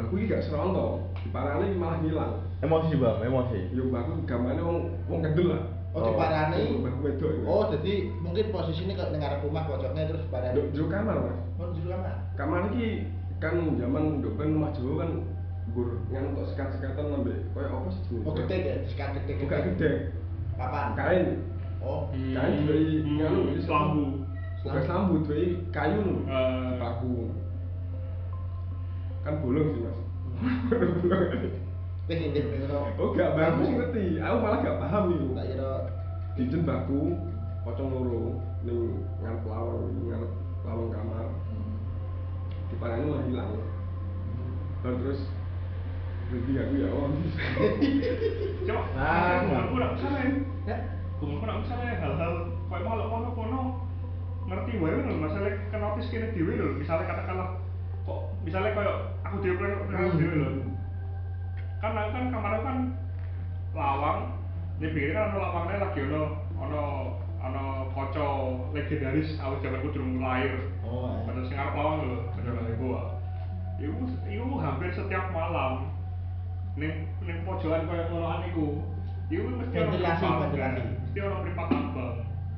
Speaker 4: Mbakku iki gak serong to. Diparani malah ngilang.
Speaker 3: Emosi bang, emosi.
Speaker 4: Yo mbakku gamane wong wong kendel lah.
Speaker 1: oh
Speaker 3: Oh.
Speaker 1: diparani
Speaker 4: Mbakku wedok. ya.
Speaker 1: Oh, jadi mungkin posisinya kalau dengar rumah pojoknya terus pada
Speaker 4: Nduk jero kamar, Mas.
Speaker 1: Oh, di kamar.
Speaker 4: Kamar iki kan zaman nduk ben rumah Jawa kan nggur ngan untuk sekat-sekatan nambah koyo apa sih jenenge?
Speaker 1: Oh, gede ya, sekat gede
Speaker 4: Bukan gede.
Speaker 1: Papan.
Speaker 4: Kain.
Speaker 1: Oh,
Speaker 4: Kain dari nganu wis
Speaker 2: Lambu.
Speaker 4: Bukan lambu duwe kayu lho.
Speaker 2: Eh.
Speaker 4: Paku. Kan bolong sih, Mas.
Speaker 1: wis ini ngono.
Speaker 4: oh, gak bagus ngerti. Aku malah gak paham iku.
Speaker 1: Tak kira
Speaker 4: Dijen baku pocong loro ning ngarep lawang, ngarep lawang
Speaker 2: Hmm.
Speaker 4: kamar. Diparani malah hilang. Dan terus berarti aku ya wong
Speaker 2: Cuma,
Speaker 1: Nah.
Speaker 2: aku nggak bisa nih.
Speaker 1: Ya?
Speaker 2: Aku nggak bisa nih hal-hal kayak malah kono-kono ngerti wae lho masalah kenapa sih kene dhewe lho misalnya katakanlah kok misalnya kayak aku dhewe pengen pengen dhewe lho kan aku kan kamar aku kan lawang di pinggir kan ono lawangnya lagi ono ono ono koco legendaris awal zaman aku durung lahir
Speaker 1: Oh, eh.
Speaker 2: Bener sing arep lawang lho, bener kali gua. Iku iku hampir setiap malam ning ning pojokan koyo ngono iku. Iku mesti orang
Speaker 1: Ventilasi,
Speaker 2: pripat,
Speaker 1: ventilasi.
Speaker 2: ya. Mesti orang pripat tambang.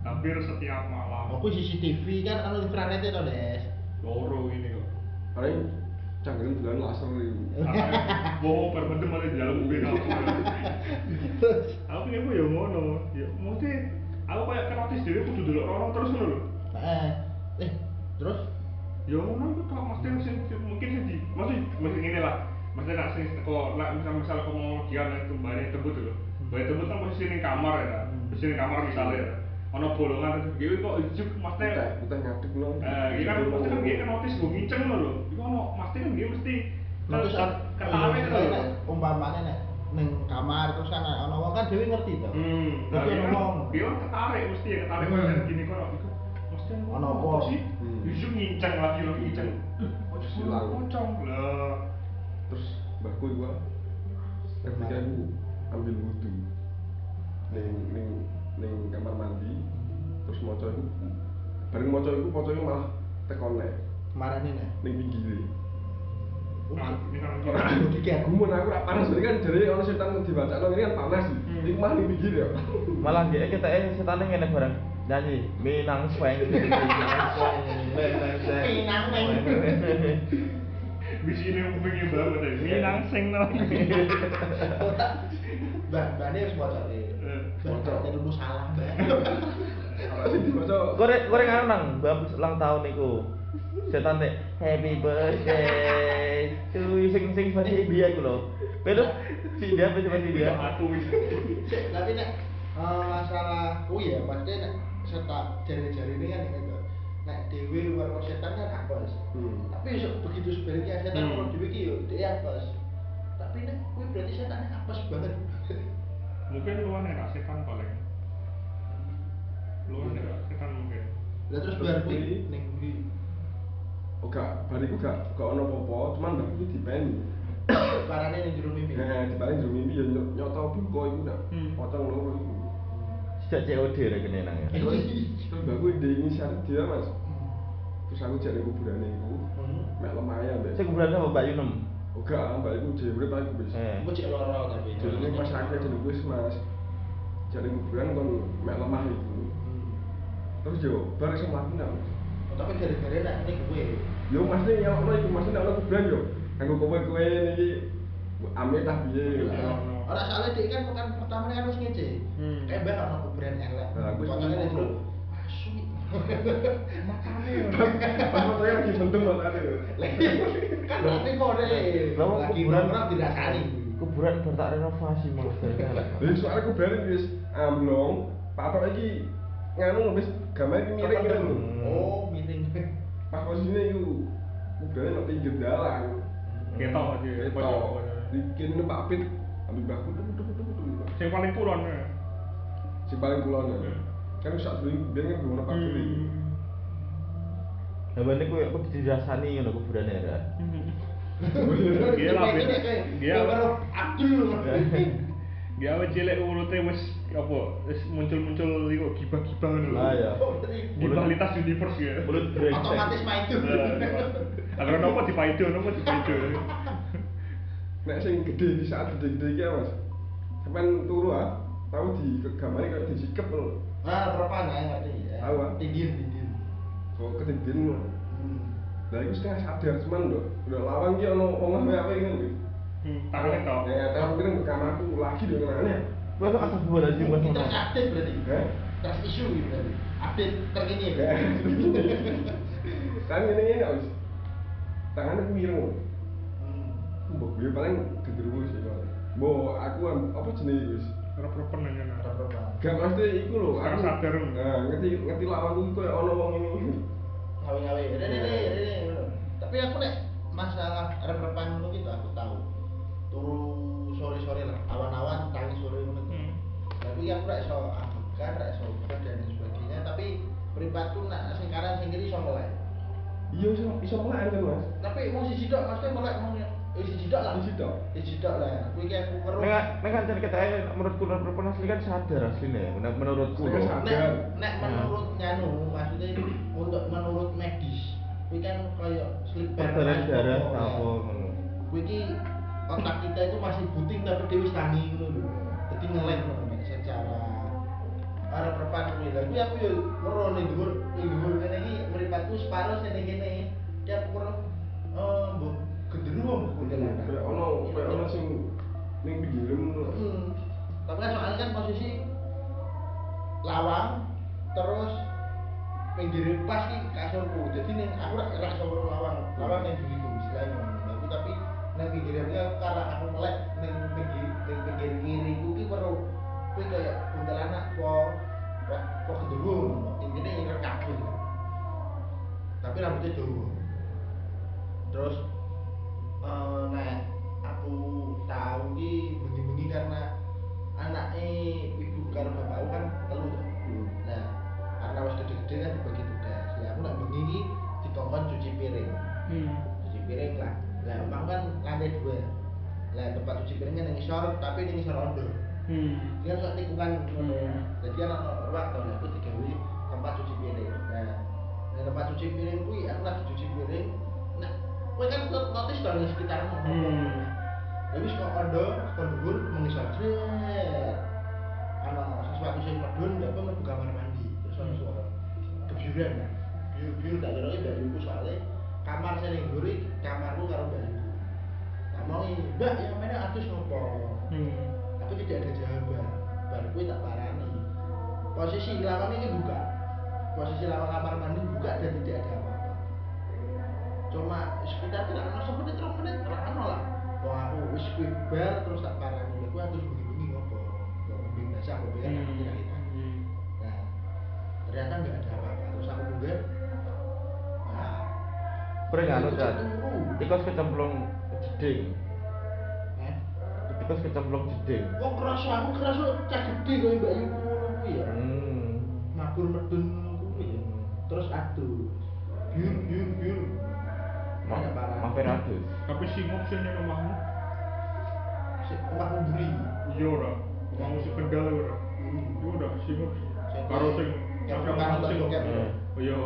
Speaker 2: Hampir setiap malam.
Speaker 1: Aku CCTV kan anu infrared itu Des.
Speaker 2: Loro ini kok.
Speaker 4: paling cangkem bulan laser itu
Speaker 2: Eh. Karena bohong permendem ada di dalam mobil aku.
Speaker 1: Terus
Speaker 2: Aku pikir aku kan? ya ngono. Ya mesti aku kayak kenotis dhewe kudu delok rono terus ngono lho.
Speaker 1: eh eh terus
Speaker 2: ya ngono iku tok mesti sing sing- mungkin sing di mesti mesti ngene lah mesti nak sing teko nak misal misal aku mau dia nang kembali tebut lho bayi tebut kan posisi ning kamar ya kan? posisi ning kamar misalnya ya ono bolongan terus gitu kok juk mesti
Speaker 4: putih putih ngadeg no
Speaker 2: eh iya kan mesti kan dia kan notis gue nginceng lho lho iku ono mesti kan dia mesti
Speaker 1: terus kan
Speaker 2: ketawa itu lho
Speaker 1: umpamanya nek neng kamar terus kan ana wong kan dhewe ngerti to.
Speaker 2: hmm nah,
Speaker 1: Tapi
Speaker 2: dia
Speaker 1: ono
Speaker 2: kan
Speaker 1: wong.
Speaker 2: dia kan ketarik mesti ya ketarik
Speaker 1: Hmm.
Speaker 2: kan gini kok iku mesti
Speaker 1: Ono apa?
Speaker 2: sih
Speaker 4: Hmm.
Speaker 2: Yusuf nginceng lagi lho nginceng
Speaker 4: Terus
Speaker 2: Kocok
Speaker 4: hilang.
Speaker 2: kocok lah
Speaker 4: terus mbahku iku ketika aku ambil wudhu ning ning ning kamar mandi terus moco iku bareng moco iku moco iku malah tekon nek
Speaker 1: Marane nek.
Speaker 4: ning pinggire
Speaker 1: Oh,
Speaker 2: Nah, ini kan
Speaker 1: Ora digagu.
Speaker 4: Gumun aku ora panas jadi kan jadi orang setan dibaca lo ini kan panas.
Speaker 2: Hmm.
Speaker 4: Ini mah ning pinggir ya.
Speaker 3: Malah dia kita eh setannya ngene bareng nyanyi Minang Sweng Minang Sweng
Speaker 4: Iya,
Speaker 3: Leng, leng, leng.
Speaker 1: Minang, leng.
Speaker 2: Wis ini aku pengen banget ya. Minang sing nang.
Speaker 4: iya.
Speaker 1: Mbah, mbahne wis maca iki.
Speaker 4: Hmm,
Speaker 2: Eh,
Speaker 1: Maca
Speaker 4: maca.
Speaker 1: ilmu salah, Mbah.
Speaker 4: Orang sing dibaca.
Speaker 3: Korek korek anu nang bab ulang tahun niku. Setan teh happy birthday to you sing sing bahasa India iku lho. Pedot si dia bahasa bahasa India.
Speaker 2: Iya aku wis.
Speaker 1: Sik, Tapi nek eh, masalah oh iya, maksudnya nek setak jari-jari ini kan gitu. Nek dhewe warna setan kan apes.
Speaker 4: Hmm.
Speaker 1: tapi se- begitu sebaliknya setan
Speaker 2: Hmm.
Speaker 1: kalau dewi ki yo dia apes tapi nek kuwi berarti setan apes banget
Speaker 2: Mungkin luan enak setan paling. Luan enak setan mungkin.
Speaker 1: lah terus
Speaker 4: Terus
Speaker 1: berarti
Speaker 4: kuwi?
Speaker 1: ning kuwi
Speaker 4: Oga, bariku Oh, gak gak ono apa-apa, cuman mbak iki dipeni.
Speaker 1: parane ning jero mimpi
Speaker 4: Nah, dipeni jero mimpi ya nyot- nyoto buka iku nak.
Speaker 2: Hmm.
Speaker 4: Pocong loro iku.
Speaker 3: Sejak COD rek kene nang.
Speaker 2: Eh,
Speaker 3: ya.
Speaker 4: Terus terus mbakku ndek syarat dia, Mas. Terus aku jare kuburane iku.
Speaker 1: Hmm.
Speaker 4: Mek lemahnya mbak.
Speaker 3: Sing kuburan apa Mbak Yunum?
Speaker 4: Oga, mbak iku dhewe urip aku wis.
Speaker 3: Eh.
Speaker 1: aku cek loro tapi
Speaker 4: Jare pas aku jare wis, Mas. Jare kuburan kon mek lemah iku.
Speaker 1: Hmm.
Speaker 4: Terus yo bareng iso mlaku nak. Mas.
Speaker 1: Oh, tapi gara-gara nek ning kuwi
Speaker 4: Yo maksudnya yang ono iku maksudnya ono kuburan yo. Anggo kowe-kowe niki ame tah piye.
Speaker 2: Iya.
Speaker 1: ora soalnya dia kan pekan pertama kan harus ngece
Speaker 2: Hmm.
Speaker 1: kayak mbak ono kuburan elek
Speaker 4: Nah, aku
Speaker 1: Pokoknya
Speaker 4: sih
Speaker 1: ning jero
Speaker 4: ngono.
Speaker 1: asu
Speaker 4: Pas saya lagi bendung mas Ade.
Speaker 1: kan berarti kode
Speaker 3: Lah wong
Speaker 1: lagi
Speaker 3: kuburan
Speaker 1: nongkrong dirasani
Speaker 3: Kuburan baru tak renovasi malah berkelek.
Speaker 4: Jadi soalnya aku berani wis amblong, patok iki nganu wis gambar iki miring gitu lho.
Speaker 1: oh miring
Speaker 4: Pas posisinya iku aku berani nang pinggir dalan.
Speaker 2: Ketok aja.
Speaker 4: Gitu.
Speaker 2: pojok.
Speaker 4: Ketok. Dikin numpak pit ambil baku tuk tuk tuk tuk. tuk.
Speaker 2: Sing paling kulon ya.
Speaker 4: Si paling kulon ya.
Speaker 2: Hmm.
Speaker 4: Kan sak dulu biar ngerti ngono pak dulu.
Speaker 3: Lah bane kowe ya, aku dirasani ngono kuburane ya.
Speaker 2: Hmm. Dia lah,
Speaker 1: Kayak gini, kayak
Speaker 2: Fit. Dia.
Speaker 1: kayak baru Abdul
Speaker 2: Dia awet cilik urute wis apa wis muncul-muncul iku gibah-gibah ngono lho.
Speaker 3: Lah ya.
Speaker 2: Di kualitas universe ya. Eh,
Speaker 3: Mulut brengsek.
Speaker 1: otomatis main itu
Speaker 2: Agar nopo dipaido, nopo dipaido.
Speaker 4: Nek sing gede di saat gede-gede iki ya, Mas. Sampeyan turu ah, tahu di gambarnya kayak disikep lho.
Speaker 1: nah perpan ya ngerti ya
Speaker 4: Tahu, ah.
Speaker 1: tinggir tinggir
Speaker 4: Kok ketinggian lho.
Speaker 1: Hmm.
Speaker 4: Lah iku setengah sadar cuman lho. Udah lawang ki ono wong ngombe apa iki lho.
Speaker 2: Hmm, Tangannya tok.
Speaker 4: Ya tahu pirang ke kamarku lagi lho kenane.
Speaker 3: Wah, kok asal dua lagi mas.
Speaker 1: kita aktif berarti
Speaker 4: Eh?
Speaker 1: terus isu gitu berarti update terkini ya
Speaker 4: Kan ngene iki Mas. Tangannya ku ireng. lho. Mbok gue paling genderuwo sih kok. Mbok aku am- apa jenenge wis.
Speaker 2: Rep-repen aja. nah.
Speaker 4: Gak mesti iku lho.
Speaker 2: Sekarang sadar.
Speaker 4: Nah, ngerti ngerti lawang ku koyo ono wong ini.
Speaker 1: ngawi ngawi ini ini ini tapi aku nek masalah reprepan itu gitu aku tahu turu sore-sore lah awan-awan tangi sore ngono
Speaker 2: Hmm.
Speaker 1: tapi aku ora iso ambekan ora iso uber dan lain sebagainya tapi mripatku nak sing kanan sing kiri iso mulai
Speaker 4: iya iso iso melaan kan mas
Speaker 1: tapi wong siji tok maksudnya mulai wong eh siji tok lah
Speaker 4: Siji tok.
Speaker 1: siji tok lah kuwi ki aku weruh
Speaker 3: Nek nek kan jan ketake menurutku lan perempuan asli kan sadar asline ya. men- Menurutku
Speaker 4: Aslinya
Speaker 3: loh.
Speaker 4: sadar.
Speaker 1: nek
Speaker 4: Agar.
Speaker 1: nek menurut nyanu maksudnya untuk menurut medis kuwi kan koyo slip
Speaker 3: Peredaran darah apa ngono.
Speaker 1: gitu ya. kuwi ki otak kita itu masih buting tapi dewi tani ngono lho dadi ngelek ngono Nek, secara para perpan kuwi lha kuwi aku yo loro ning dhuwur ning dhuwur kene iki mripatku separuh sing ning kene iki aku weruh eh mbok genderu mbok kundelan
Speaker 4: Iya, kayak ono kayak ono sing ning pinggirmu lho
Speaker 1: Hmm. Tapi kan soalnya kan posisi lawang terus pinggir pas ki kasurku. Jadi ning aku ora ora iso weruh lawang. Lawang ning dhuwitku istilahnya. Tapi tapi ning pinggir karena aku melek ning pinggir ning pinggir kiriku ki weruh kuwi kaya buntel anak po po po keduru. Intine ingin kabur. gitu. Tapi rambutnya dawa. Terus eh nah aku tahu ki bengi-bengi karena anaknya ibu karo bapakku kan telu to. Nah, karena wis gede-gede kan dibagi tugas. Lah aku nak bengi ki dikongkon cuci piring. Cuci piring lah. Lah emang kan lantai dua. Lah tempat cuci piringnya ning isor tapi ning isor ondo. Dia kan tikungan ngono. Jadi ana ruang to lah aku digawe tempat cuci piring. Nah, nah tempat cuci piring kuwi aku lagi cuci piring. Nah, kowe kan not- notice to ning sekitarmu.
Speaker 2: Hmm.
Speaker 1: Ya wis kok kondo, kok dhuwur mengisor jret. Ana sesuatu sing medun ya apa mlebu kamar mandi. Terus ana suara kebiuran. Biur-biur tak kira mbak Yuku soalnya kamar saya yang dhuwur iki kamarku karo mbak Yuku. Tak mau ini, mbak yang mana atus ngopo. Aku tidak ada jawaban. Bar kuwi tak parani. Posisi lawan ini buka. Posisi lawan kamar mandi buka dan tidak ada apa-apa. cuma sekitar tidak ono semenit rong menit ora ono lah wah aku wis kuwi bar terus tak parani aku aku bengi-bengi ngopo kok bengi basah kok
Speaker 2: Hmm.
Speaker 1: bengi aku tidak kita nah ternyata nggak ada apa-apa terus aku munggah nah
Speaker 3: Pernah nggak lu anu, Jan?
Speaker 1: Turu.
Speaker 3: Uh, Tikus kecemplung jeding.
Speaker 1: eh
Speaker 3: Tikus kecemplung jeding.
Speaker 1: wong kerasa aku kerasa cah gede kok mbak Ayu ngono kuwi ya
Speaker 3: Hmm.
Speaker 1: mabur medun ngono kuwi ya terus aduh biur biur biur
Speaker 3: Ma
Speaker 1: Ada parah.
Speaker 3: mampir adus.
Speaker 2: Tapi si Mop sih yang rumahmu,
Speaker 1: sik omak mburi
Speaker 2: iya ora. Mau si kendal ora. Iya ora si Mop. Karo sing
Speaker 1: Yang
Speaker 2: yang
Speaker 1: rumah
Speaker 2: sing
Speaker 1: tangga.
Speaker 2: Iya. Iya.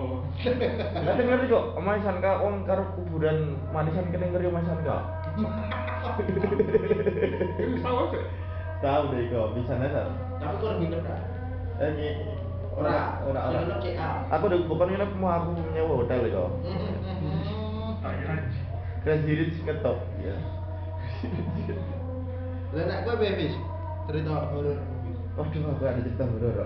Speaker 3: Nanti ngerti kok, manisan ka wong karo kuburan manisan kene ngeri manisan ka.
Speaker 2: Ini tahu aja.
Speaker 3: Tahu deh kok, bisa nasa.
Speaker 1: tapi kok lebih ndak
Speaker 3: Eh, nyi.
Speaker 1: ora
Speaker 3: ora, ora.
Speaker 1: Sing ono CA
Speaker 3: Aku udah bukan nginep mau aku nyewa hotel deh kok.
Speaker 2: Tanya aja.
Speaker 3: Crazy Rich ngetop. Iya.
Speaker 1: Lah nek kowe bebis cerita horor
Speaker 3: Waduh, aku ada cerita horor.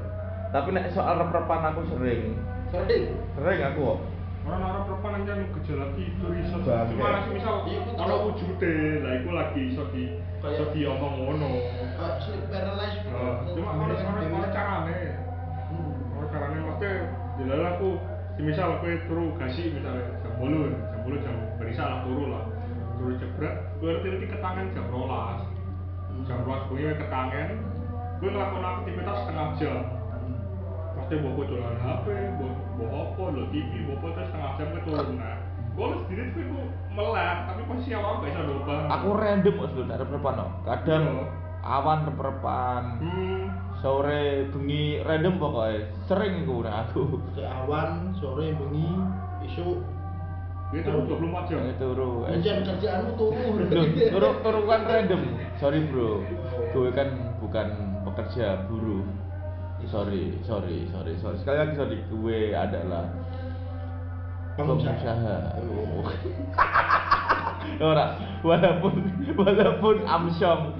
Speaker 3: Tapi nek soal rep-repan aku sering,
Speaker 1: sering
Speaker 3: sering aku kok.
Speaker 2: Orang-orang perempuan aja yang gejala itu iso.
Speaker 3: Bangke.
Speaker 2: Cuma langsung misal
Speaker 1: Iya, aku tahu.
Speaker 2: kalau wujude lah iku lagi iso di iso
Speaker 1: Kayak-
Speaker 2: diomong ngono.
Speaker 1: kok sleep paralysis
Speaker 2: Nah, Cuma kalau sekarang kalau carane
Speaker 1: Hmm.
Speaker 2: Oh, caranya maksudnya jelas aku semisal aku turu gasi misalnya jam bolu jam bolu jam berisa lah turu lah turu jebret gue ngerti ngerti ketangan jam rolas jam rolas gue ketangan gue ngelakuin aktivitas setengah jam pasti bawa gue jualan HP bawa bawa apa lo TV bawa apa terus setengah jam gue turun nah gue lu sendiri tuh gue melek tapi posisi awal gak bisa doba
Speaker 3: Aku random kok sebelum rep-repan no. Kadang
Speaker 2: Iya.
Speaker 3: awan rep-repan,
Speaker 2: hmm
Speaker 3: sore bengi random pokoknya. Sering iku nek aku.
Speaker 1: ke awan sore bengi esuk
Speaker 2: dia
Speaker 3: Hmm.
Speaker 2: turu 24 jam
Speaker 3: Bengi turu. eh,
Speaker 1: jam kerjaanmu turu
Speaker 3: Loh, turu turu kan random. Sorry bro. Gue kan bukan pekerja buruh. Sorry, sorry, sorry, sorry. Sekali lagi sorry, gue adalah pengusaha. Oh. Ora, walaupun walaupun amsyong.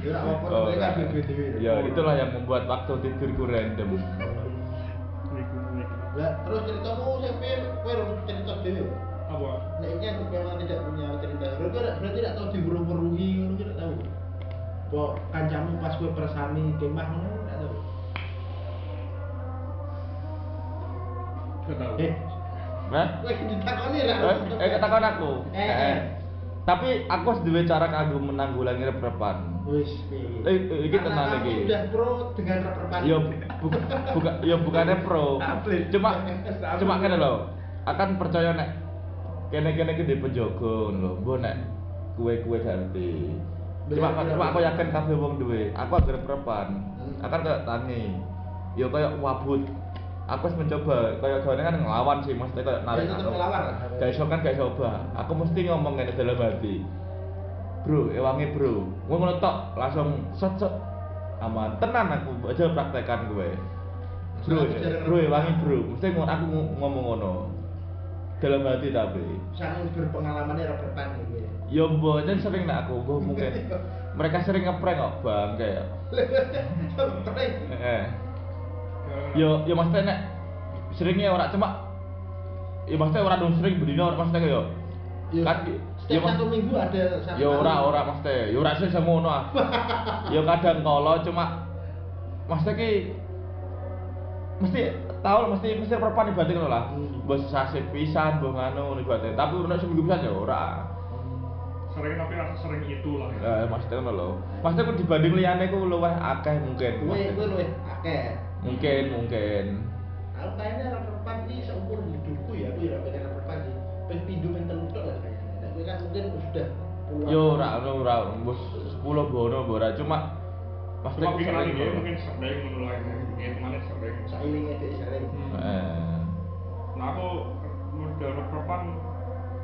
Speaker 1: Ya ora apa-apa
Speaker 3: Oh,
Speaker 1: kowe kan dhewe-dhewe.
Speaker 3: Ya, itulah yang membuat waktu tidurku random.
Speaker 2: niku niku
Speaker 1: Lah terus ceritamu sing piye kowe ora cerita dhewe.
Speaker 2: apa
Speaker 1: Nek iki aku memang tidak punya cerita horor kowe ora- berarti tidak tahu diweruh-weruhi ngono kowe tidak tahu. Kok kancamu pas kowe persami kemah ngono tidak tahu.
Speaker 2: gak tahu
Speaker 1: Eh,
Speaker 3: Hah?
Speaker 1: kowe ditakoni ra?
Speaker 3: Eh, eh, ketakon aku.
Speaker 1: Eh, eh.
Speaker 3: Tapi aku harus duwe cara kanggo menanggulangi reprepan.
Speaker 5: Wis.
Speaker 3: Eh, eh, iki
Speaker 5: Karena kamu
Speaker 3: tenan iki.
Speaker 5: Sudah pro dengan reperpan.
Speaker 3: Ya buka, buka, ya bukannya pro.
Speaker 4: Atlet.
Speaker 3: Cuma
Speaker 4: Atlet.
Speaker 3: cuma kene lho. Akan percaya nek kene-kene iki di penjaga ngono lho. Mbok nek kue-kue ganti. Cuma
Speaker 5: Bener,
Speaker 3: cuma
Speaker 5: bener.
Speaker 3: aku yakin kabeh wong duwe. Aku agar prepan.
Speaker 5: Hmm.
Speaker 3: Akan kayak tangi. Ya kayak wabut. Aku harus mencoba kayak gawane kan ngelawan sih maksudnya kayak narik
Speaker 5: Ya, tetep
Speaker 3: anu.
Speaker 5: ngelawan lah.
Speaker 3: Gak iso kan gak coba. Aku mesti ngomong ngene dalam hati. Bro, ewangi bro. Gue ngono tok langsung set set aman. Tenan aku aja praktekan gue. Bro,
Speaker 5: Aku jarang
Speaker 3: bro
Speaker 5: ngerti.
Speaker 3: ewangi bro. Mesti ngono aku ngo- ngomong ngono. Dalam hati tapi.
Speaker 5: Sangat berpengalaman ya reperpan gitu ya.
Speaker 3: Ya mbok jen sering nak aku gue mungkin.
Speaker 5: Iya.
Speaker 3: Mereka sering ngeprank kok bang kayak.
Speaker 5: Keren.
Speaker 3: Eh. Yo yo maksudnya nek seringnya orang cuma ya maksudnya orang dong sering berdino maksudnya kayak
Speaker 5: Ya,
Speaker 3: kan ya,
Speaker 5: setiap
Speaker 3: mas-
Speaker 5: satu minggu ada satu
Speaker 3: Ya
Speaker 5: kali.
Speaker 3: ora ora mesti, ya ora sih semono. ah. Ya kadang kala cuma mesti ki mesti tau lah, mesti mesti perpan ibaratnya ngono lah.
Speaker 5: Hmm.
Speaker 3: Mbok sesasi pisan, mbok ngono ibaratnya. Tapi ono seminggu pisan ya ora.
Speaker 2: sering tapi rasa sering itu lah ya.
Speaker 3: Eh maksudnya ngono lho. Maksudnya ku dibanding liyane ku luwih akeh mungkin.
Speaker 5: Gue
Speaker 3: maksudnya.
Speaker 5: gue luwih akeh.
Speaker 3: Mungkin mungkin.
Speaker 5: Aku kayaknya reperpan ini seumur hidupku ya aku ya pengen reperpan sih. Pengen pindu pengen telu tok lah kayaknya. Nek kowe kan mungkin sudah puluhan
Speaker 3: Yo
Speaker 5: tahun.
Speaker 3: ora ono ora mbok 10 bono mbok ora cuma
Speaker 2: cuma
Speaker 3: maksudnya ku
Speaker 2: pikir lagi
Speaker 3: sering
Speaker 2: ya
Speaker 3: ngono.
Speaker 2: mungkin sampai menulai ya temannya sampai
Speaker 5: sairinge dhek sairing.
Speaker 3: Eh.
Speaker 2: nah aku model reperpan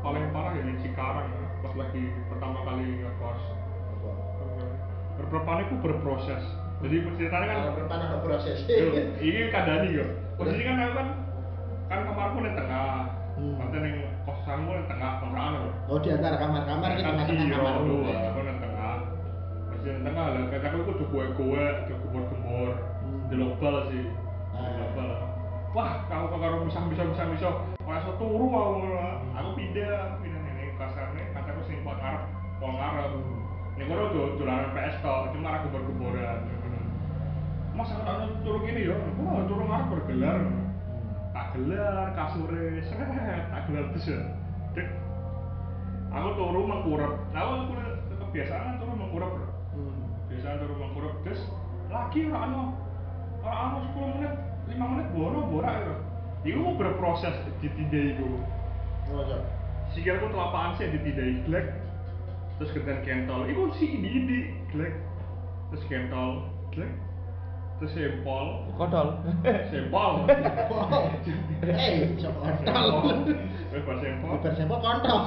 Speaker 2: paling parah ya di Cikarang ya. pas lagi pertama kali ngekos
Speaker 5: Apa?
Speaker 2: reperpan itu berproses jadi ceritanya kan
Speaker 5: Kalau reperpan ada proses.
Speaker 2: Yo, ini keadaan yo. Posisi kan aku kan kan kamarku di tengah.
Speaker 5: Hmm.
Speaker 2: Nanti ning kosanku di tengah kontrakan lho.
Speaker 5: Oh di antara kamar-kamar
Speaker 2: Nek
Speaker 1: gitu,
Speaker 5: kita
Speaker 2: kan
Speaker 5: masuk
Speaker 2: si yo,
Speaker 5: kamar dulu.
Speaker 2: aku di tengah. Posisi di tengah lah, kayak aku kudu gue-gue, kudu gembor-gembor.
Speaker 5: Hmm.
Speaker 2: Di lobal sih. Di
Speaker 5: Ah.
Speaker 2: lobal. Wah, kamu kok karo misah misah misah misah. Langsung turu aku. ngono. Aku pindah, pindah ning kasarne, kataku sing kuat ngarep, kuat ngarep. Ning kono do dolanan PS tok, cuma aku gembor-gemboran. Mas aku tak nonton turu gini ya, wah turu ngarep bergelar Tak gelar, kasure, seret, tak gelar terus ya Dek, aku turu mengkurep Aku kurep, kebiasaan kan turu mengkurep bro
Speaker 5: Hmm.
Speaker 2: Kebiasaan turu mengkurep, terus lagi orang anu Orang anu 10 menit, 5 menit, boro-bora ya Iku mau berproses ditindai iku
Speaker 5: Oh, iya.
Speaker 2: Sikilku telapaan sih ditindai glek Terus kemudian kentol, iku si ini-ini glek Terus kentol, glek Terus sempol,
Speaker 3: Kodol.
Speaker 2: Sempol.
Speaker 5: Oh. Eh, siapa kontol?
Speaker 2: Sempol. Lebar sempol.
Speaker 5: Bukan siapa kontol.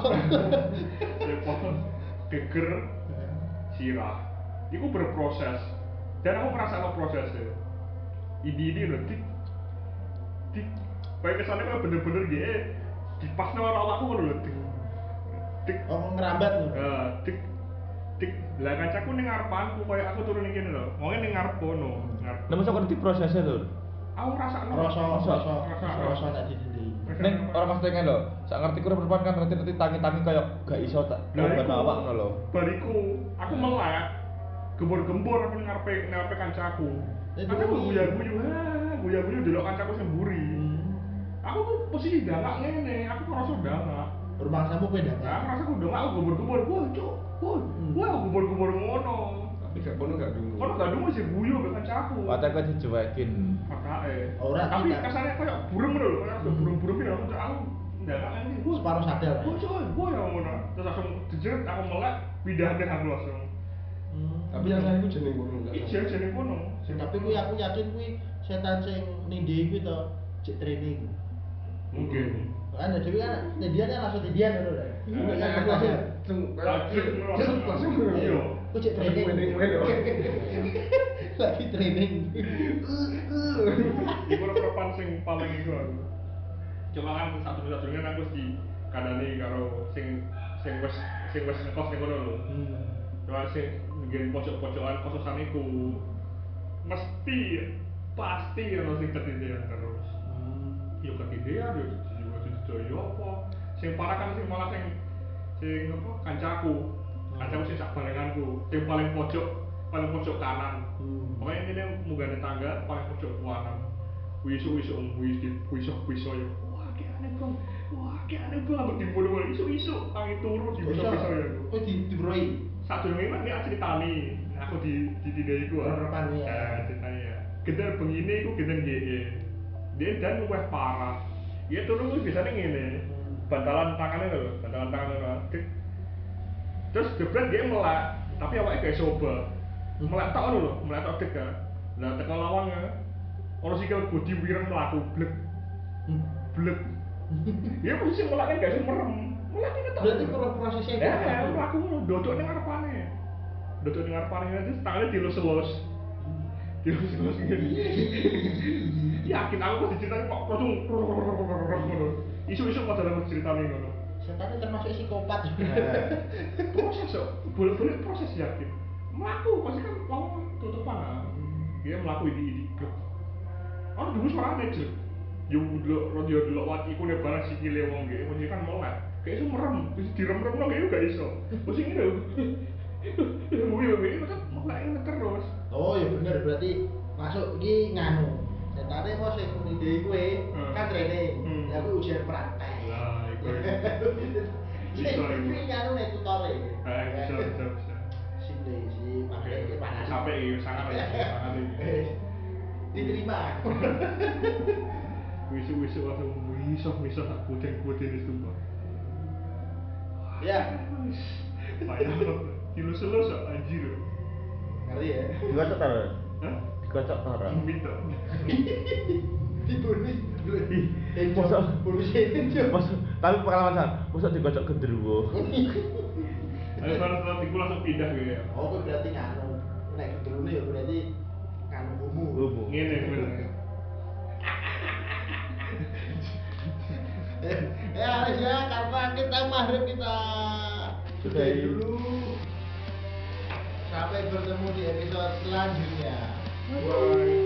Speaker 2: Sempol. Geger. Sirah. Iku berproses. Dan aku merasa e. apa prosesnya. Ini ini loh. Dik. Dik. Kayak kesannya kayak bener-bener gitu. Dipas nama orang aku loh. Dik. Dik.
Speaker 5: Oh ngerambat loh.
Speaker 2: Eh, Dik. Dik. Lah kacaku ning ngarepanku kayak aku turun iki lho. Wonge ning ngarep kono. Ngarep.
Speaker 3: Nah, maksudnya kudu diprosesnya lho.
Speaker 2: Aku rasakno.
Speaker 5: Rasa rasa rasa tadi
Speaker 3: Neng orang maksudnya kan lo, saya ngerti kurang berpan kan nanti nanti tangi tangi kayak gak iso tak
Speaker 2: Lah,
Speaker 3: obat
Speaker 2: iku.
Speaker 3: awak no lo.
Speaker 2: bariku aku melek gembor-gembor aku ngarepe ngarepe kancaku
Speaker 5: Eh,
Speaker 2: aku
Speaker 5: doi.
Speaker 2: guyu-guyu ha guyu-guyu delok kancaku sing mburi
Speaker 5: Hmm.
Speaker 2: aku ku posisi dangak ngene aku merasa dangak
Speaker 5: Rumah kamu kowe
Speaker 2: nah aku
Speaker 5: datang.
Speaker 2: merasa aku dangak aku gembor-gembor wah cuk wah wah aku gembor-gembor ngono
Speaker 4: Tapi gak kono gak dulu.
Speaker 2: kono gak dungu sih guyu be kancaku
Speaker 3: Mata kau dicuekin.
Speaker 2: Makake.
Speaker 5: Ora
Speaker 2: tapi
Speaker 5: tidak. Hmm.
Speaker 2: kasarnya kayak burung lho kayak ada burung-burung ya aku aku dangak ngene wah
Speaker 5: Separuh sadar.
Speaker 2: wah cuk wah ya ngono terus langsung dijeret aku melek pindah deh aku langsung
Speaker 5: Hmm.
Speaker 4: Tapi rasanya aku jeneng kono gak.
Speaker 2: Iya, jeneng kono.
Speaker 5: Sing tapi kuwi aku yakin kuwi setan sing nindi kuwi to cek training.
Speaker 2: mungkin.
Speaker 5: Kan ada dhewe kan Indian kan langsung Indian ngono lho.
Speaker 4: Iya,
Speaker 5: Iku kan
Speaker 4: aku
Speaker 5: aku aja.
Speaker 4: langsung- langsung kayak
Speaker 2: Langsung merasa.
Speaker 4: Jeng, langsung.
Speaker 2: Iya.
Speaker 5: Ku cek training. Lagi training.
Speaker 2: Iku perempuan sing paling iku aku. Cuma kan satu-satunya kan aku di kandani karo sing sing wis sing wis ngekos ning kono lho. Cuma sing nggen pojok-pojokan kososan iku mesti pasti ono sing ketindihan terus. Yo ketindihan yo yo dijoyo apa. Sing parah kan sing malah sing sing apa kancaku. Kancaku sing sak barenganku, sing paling pojok paling pojok kanan. Pokoknya ini dia munggah di tangga paling pojok kanan. Wisu wisu wisu wisu wisu wisu ya. Wah, kayak aneh bang wah kayak aneh bang Ambek dibolong-bolong isu-isu tangi turu di
Speaker 1: Bisa.
Speaker 2: bisa ya aku
Speaker 1: Kok di dibroi?
Speaker 2: saat dulu memang dia ceritani aku di di tidak itu ah. Eh,
Speaker 1: Penerapan, ya.
Speaker 2: ceritanya ya gendar begini aku gendar gini dia dan gue parah dia turun gue biasanya gini
Speaker 1: Hmm.
Speaker 2: bantalan tangannya loh bantalan tangannya loh Dek. terus jebret dia melek tapi awalnya kayak coba melek tak dulu melek tak dek ah. kan nah tekan lawan ya orang ah. sikil gue diwirang melaku blek blek dia posisi meleknya gak sih merem meleknya ketok.
Speaker 1: Berarti kurang prosesnya
Speaker 2: Eh, aku aku dodok ning ngarepane. Dodok ning ngarepane terus tangannya dilus-lus. Dilus-lus ngene. Yakin aku kok diceritain kok langsung ngono. Isu-isu kok dalam ceritane ngono.
Speaker 1: Setan itu termasuk psikopat.
Speaker 2: Proses kok, boleh-boleh proses yakin. Melaku pasti kan wong tutupan. ah. Dia melaku ini ini. Oh, dulu suaranya aja. Yo dulu rojo dulu wati ku nih barang sikile wong gitu, kunci kan melek. Kayak itu merem, terus direm-rem no kayak gak iso. Terus ini lho. Mau yo gitu kan melek ini terus.
Speaker 1: Oh ya bener berarti masuk iki nganu. Setane kok sing ngide kowe
Speaker 2: Hmm.
Speaker 1: kan training.
Speaker 2: Hmm.
Speaker 1: Ya aku ujian praktek.
Speaker 2: Lah, iya. iku.
Speaker 1: Sing
Speaker 2: Bisa, iku.
Speaker 1: iki nganu nek tutore.
Speaker 2: Eh, bisa bisa bisa.
Speaker 1: Sing deh, si pakai
Speaker 2: Oke,
Speaker 1: iki panas.
Speaker 2: sampai ini sangat ya, sangat ini.
Speaker 1: Eh, Diterima.
Speaker 2: Wisu-wisu langsung wisu-wisu tak kucing-kucing itu sumpah.
Speaker 1: Ya,
Speaker 2: Bayang kok, dilus-lus kok, anjir.
Speaker 1: ngerti ya.
Speaker 3: Dikocok ta?
Speaker 2: Hah?
Speaker 3: Dikocok ta ora?
Speaker 2: Minta.
Speaker 1: Dibunuh. Eh,
Speaker 3: Masa
Speaker 1: bunuh sini.
Speaker 3: Masa- tapi pengalaman saya, masa dikocok genderuwo.
Speaker 2: Ayo sekarang setelah tiku langsung pindah gitu ya.
Speaker 1: Oh, kowe berarti nganu. Nek gedrone ya berarti nganu homo.
Speaker 3: Homo.
Speaker 2: Ngene bener.
Speaker 1: ya harus Eh, ya karena kita maghrib kita sudah
Speaker 3: Sudahi.
Speaker 1: dulu sampai bertemu di episode selanjutnya
Speaker 2: Bye.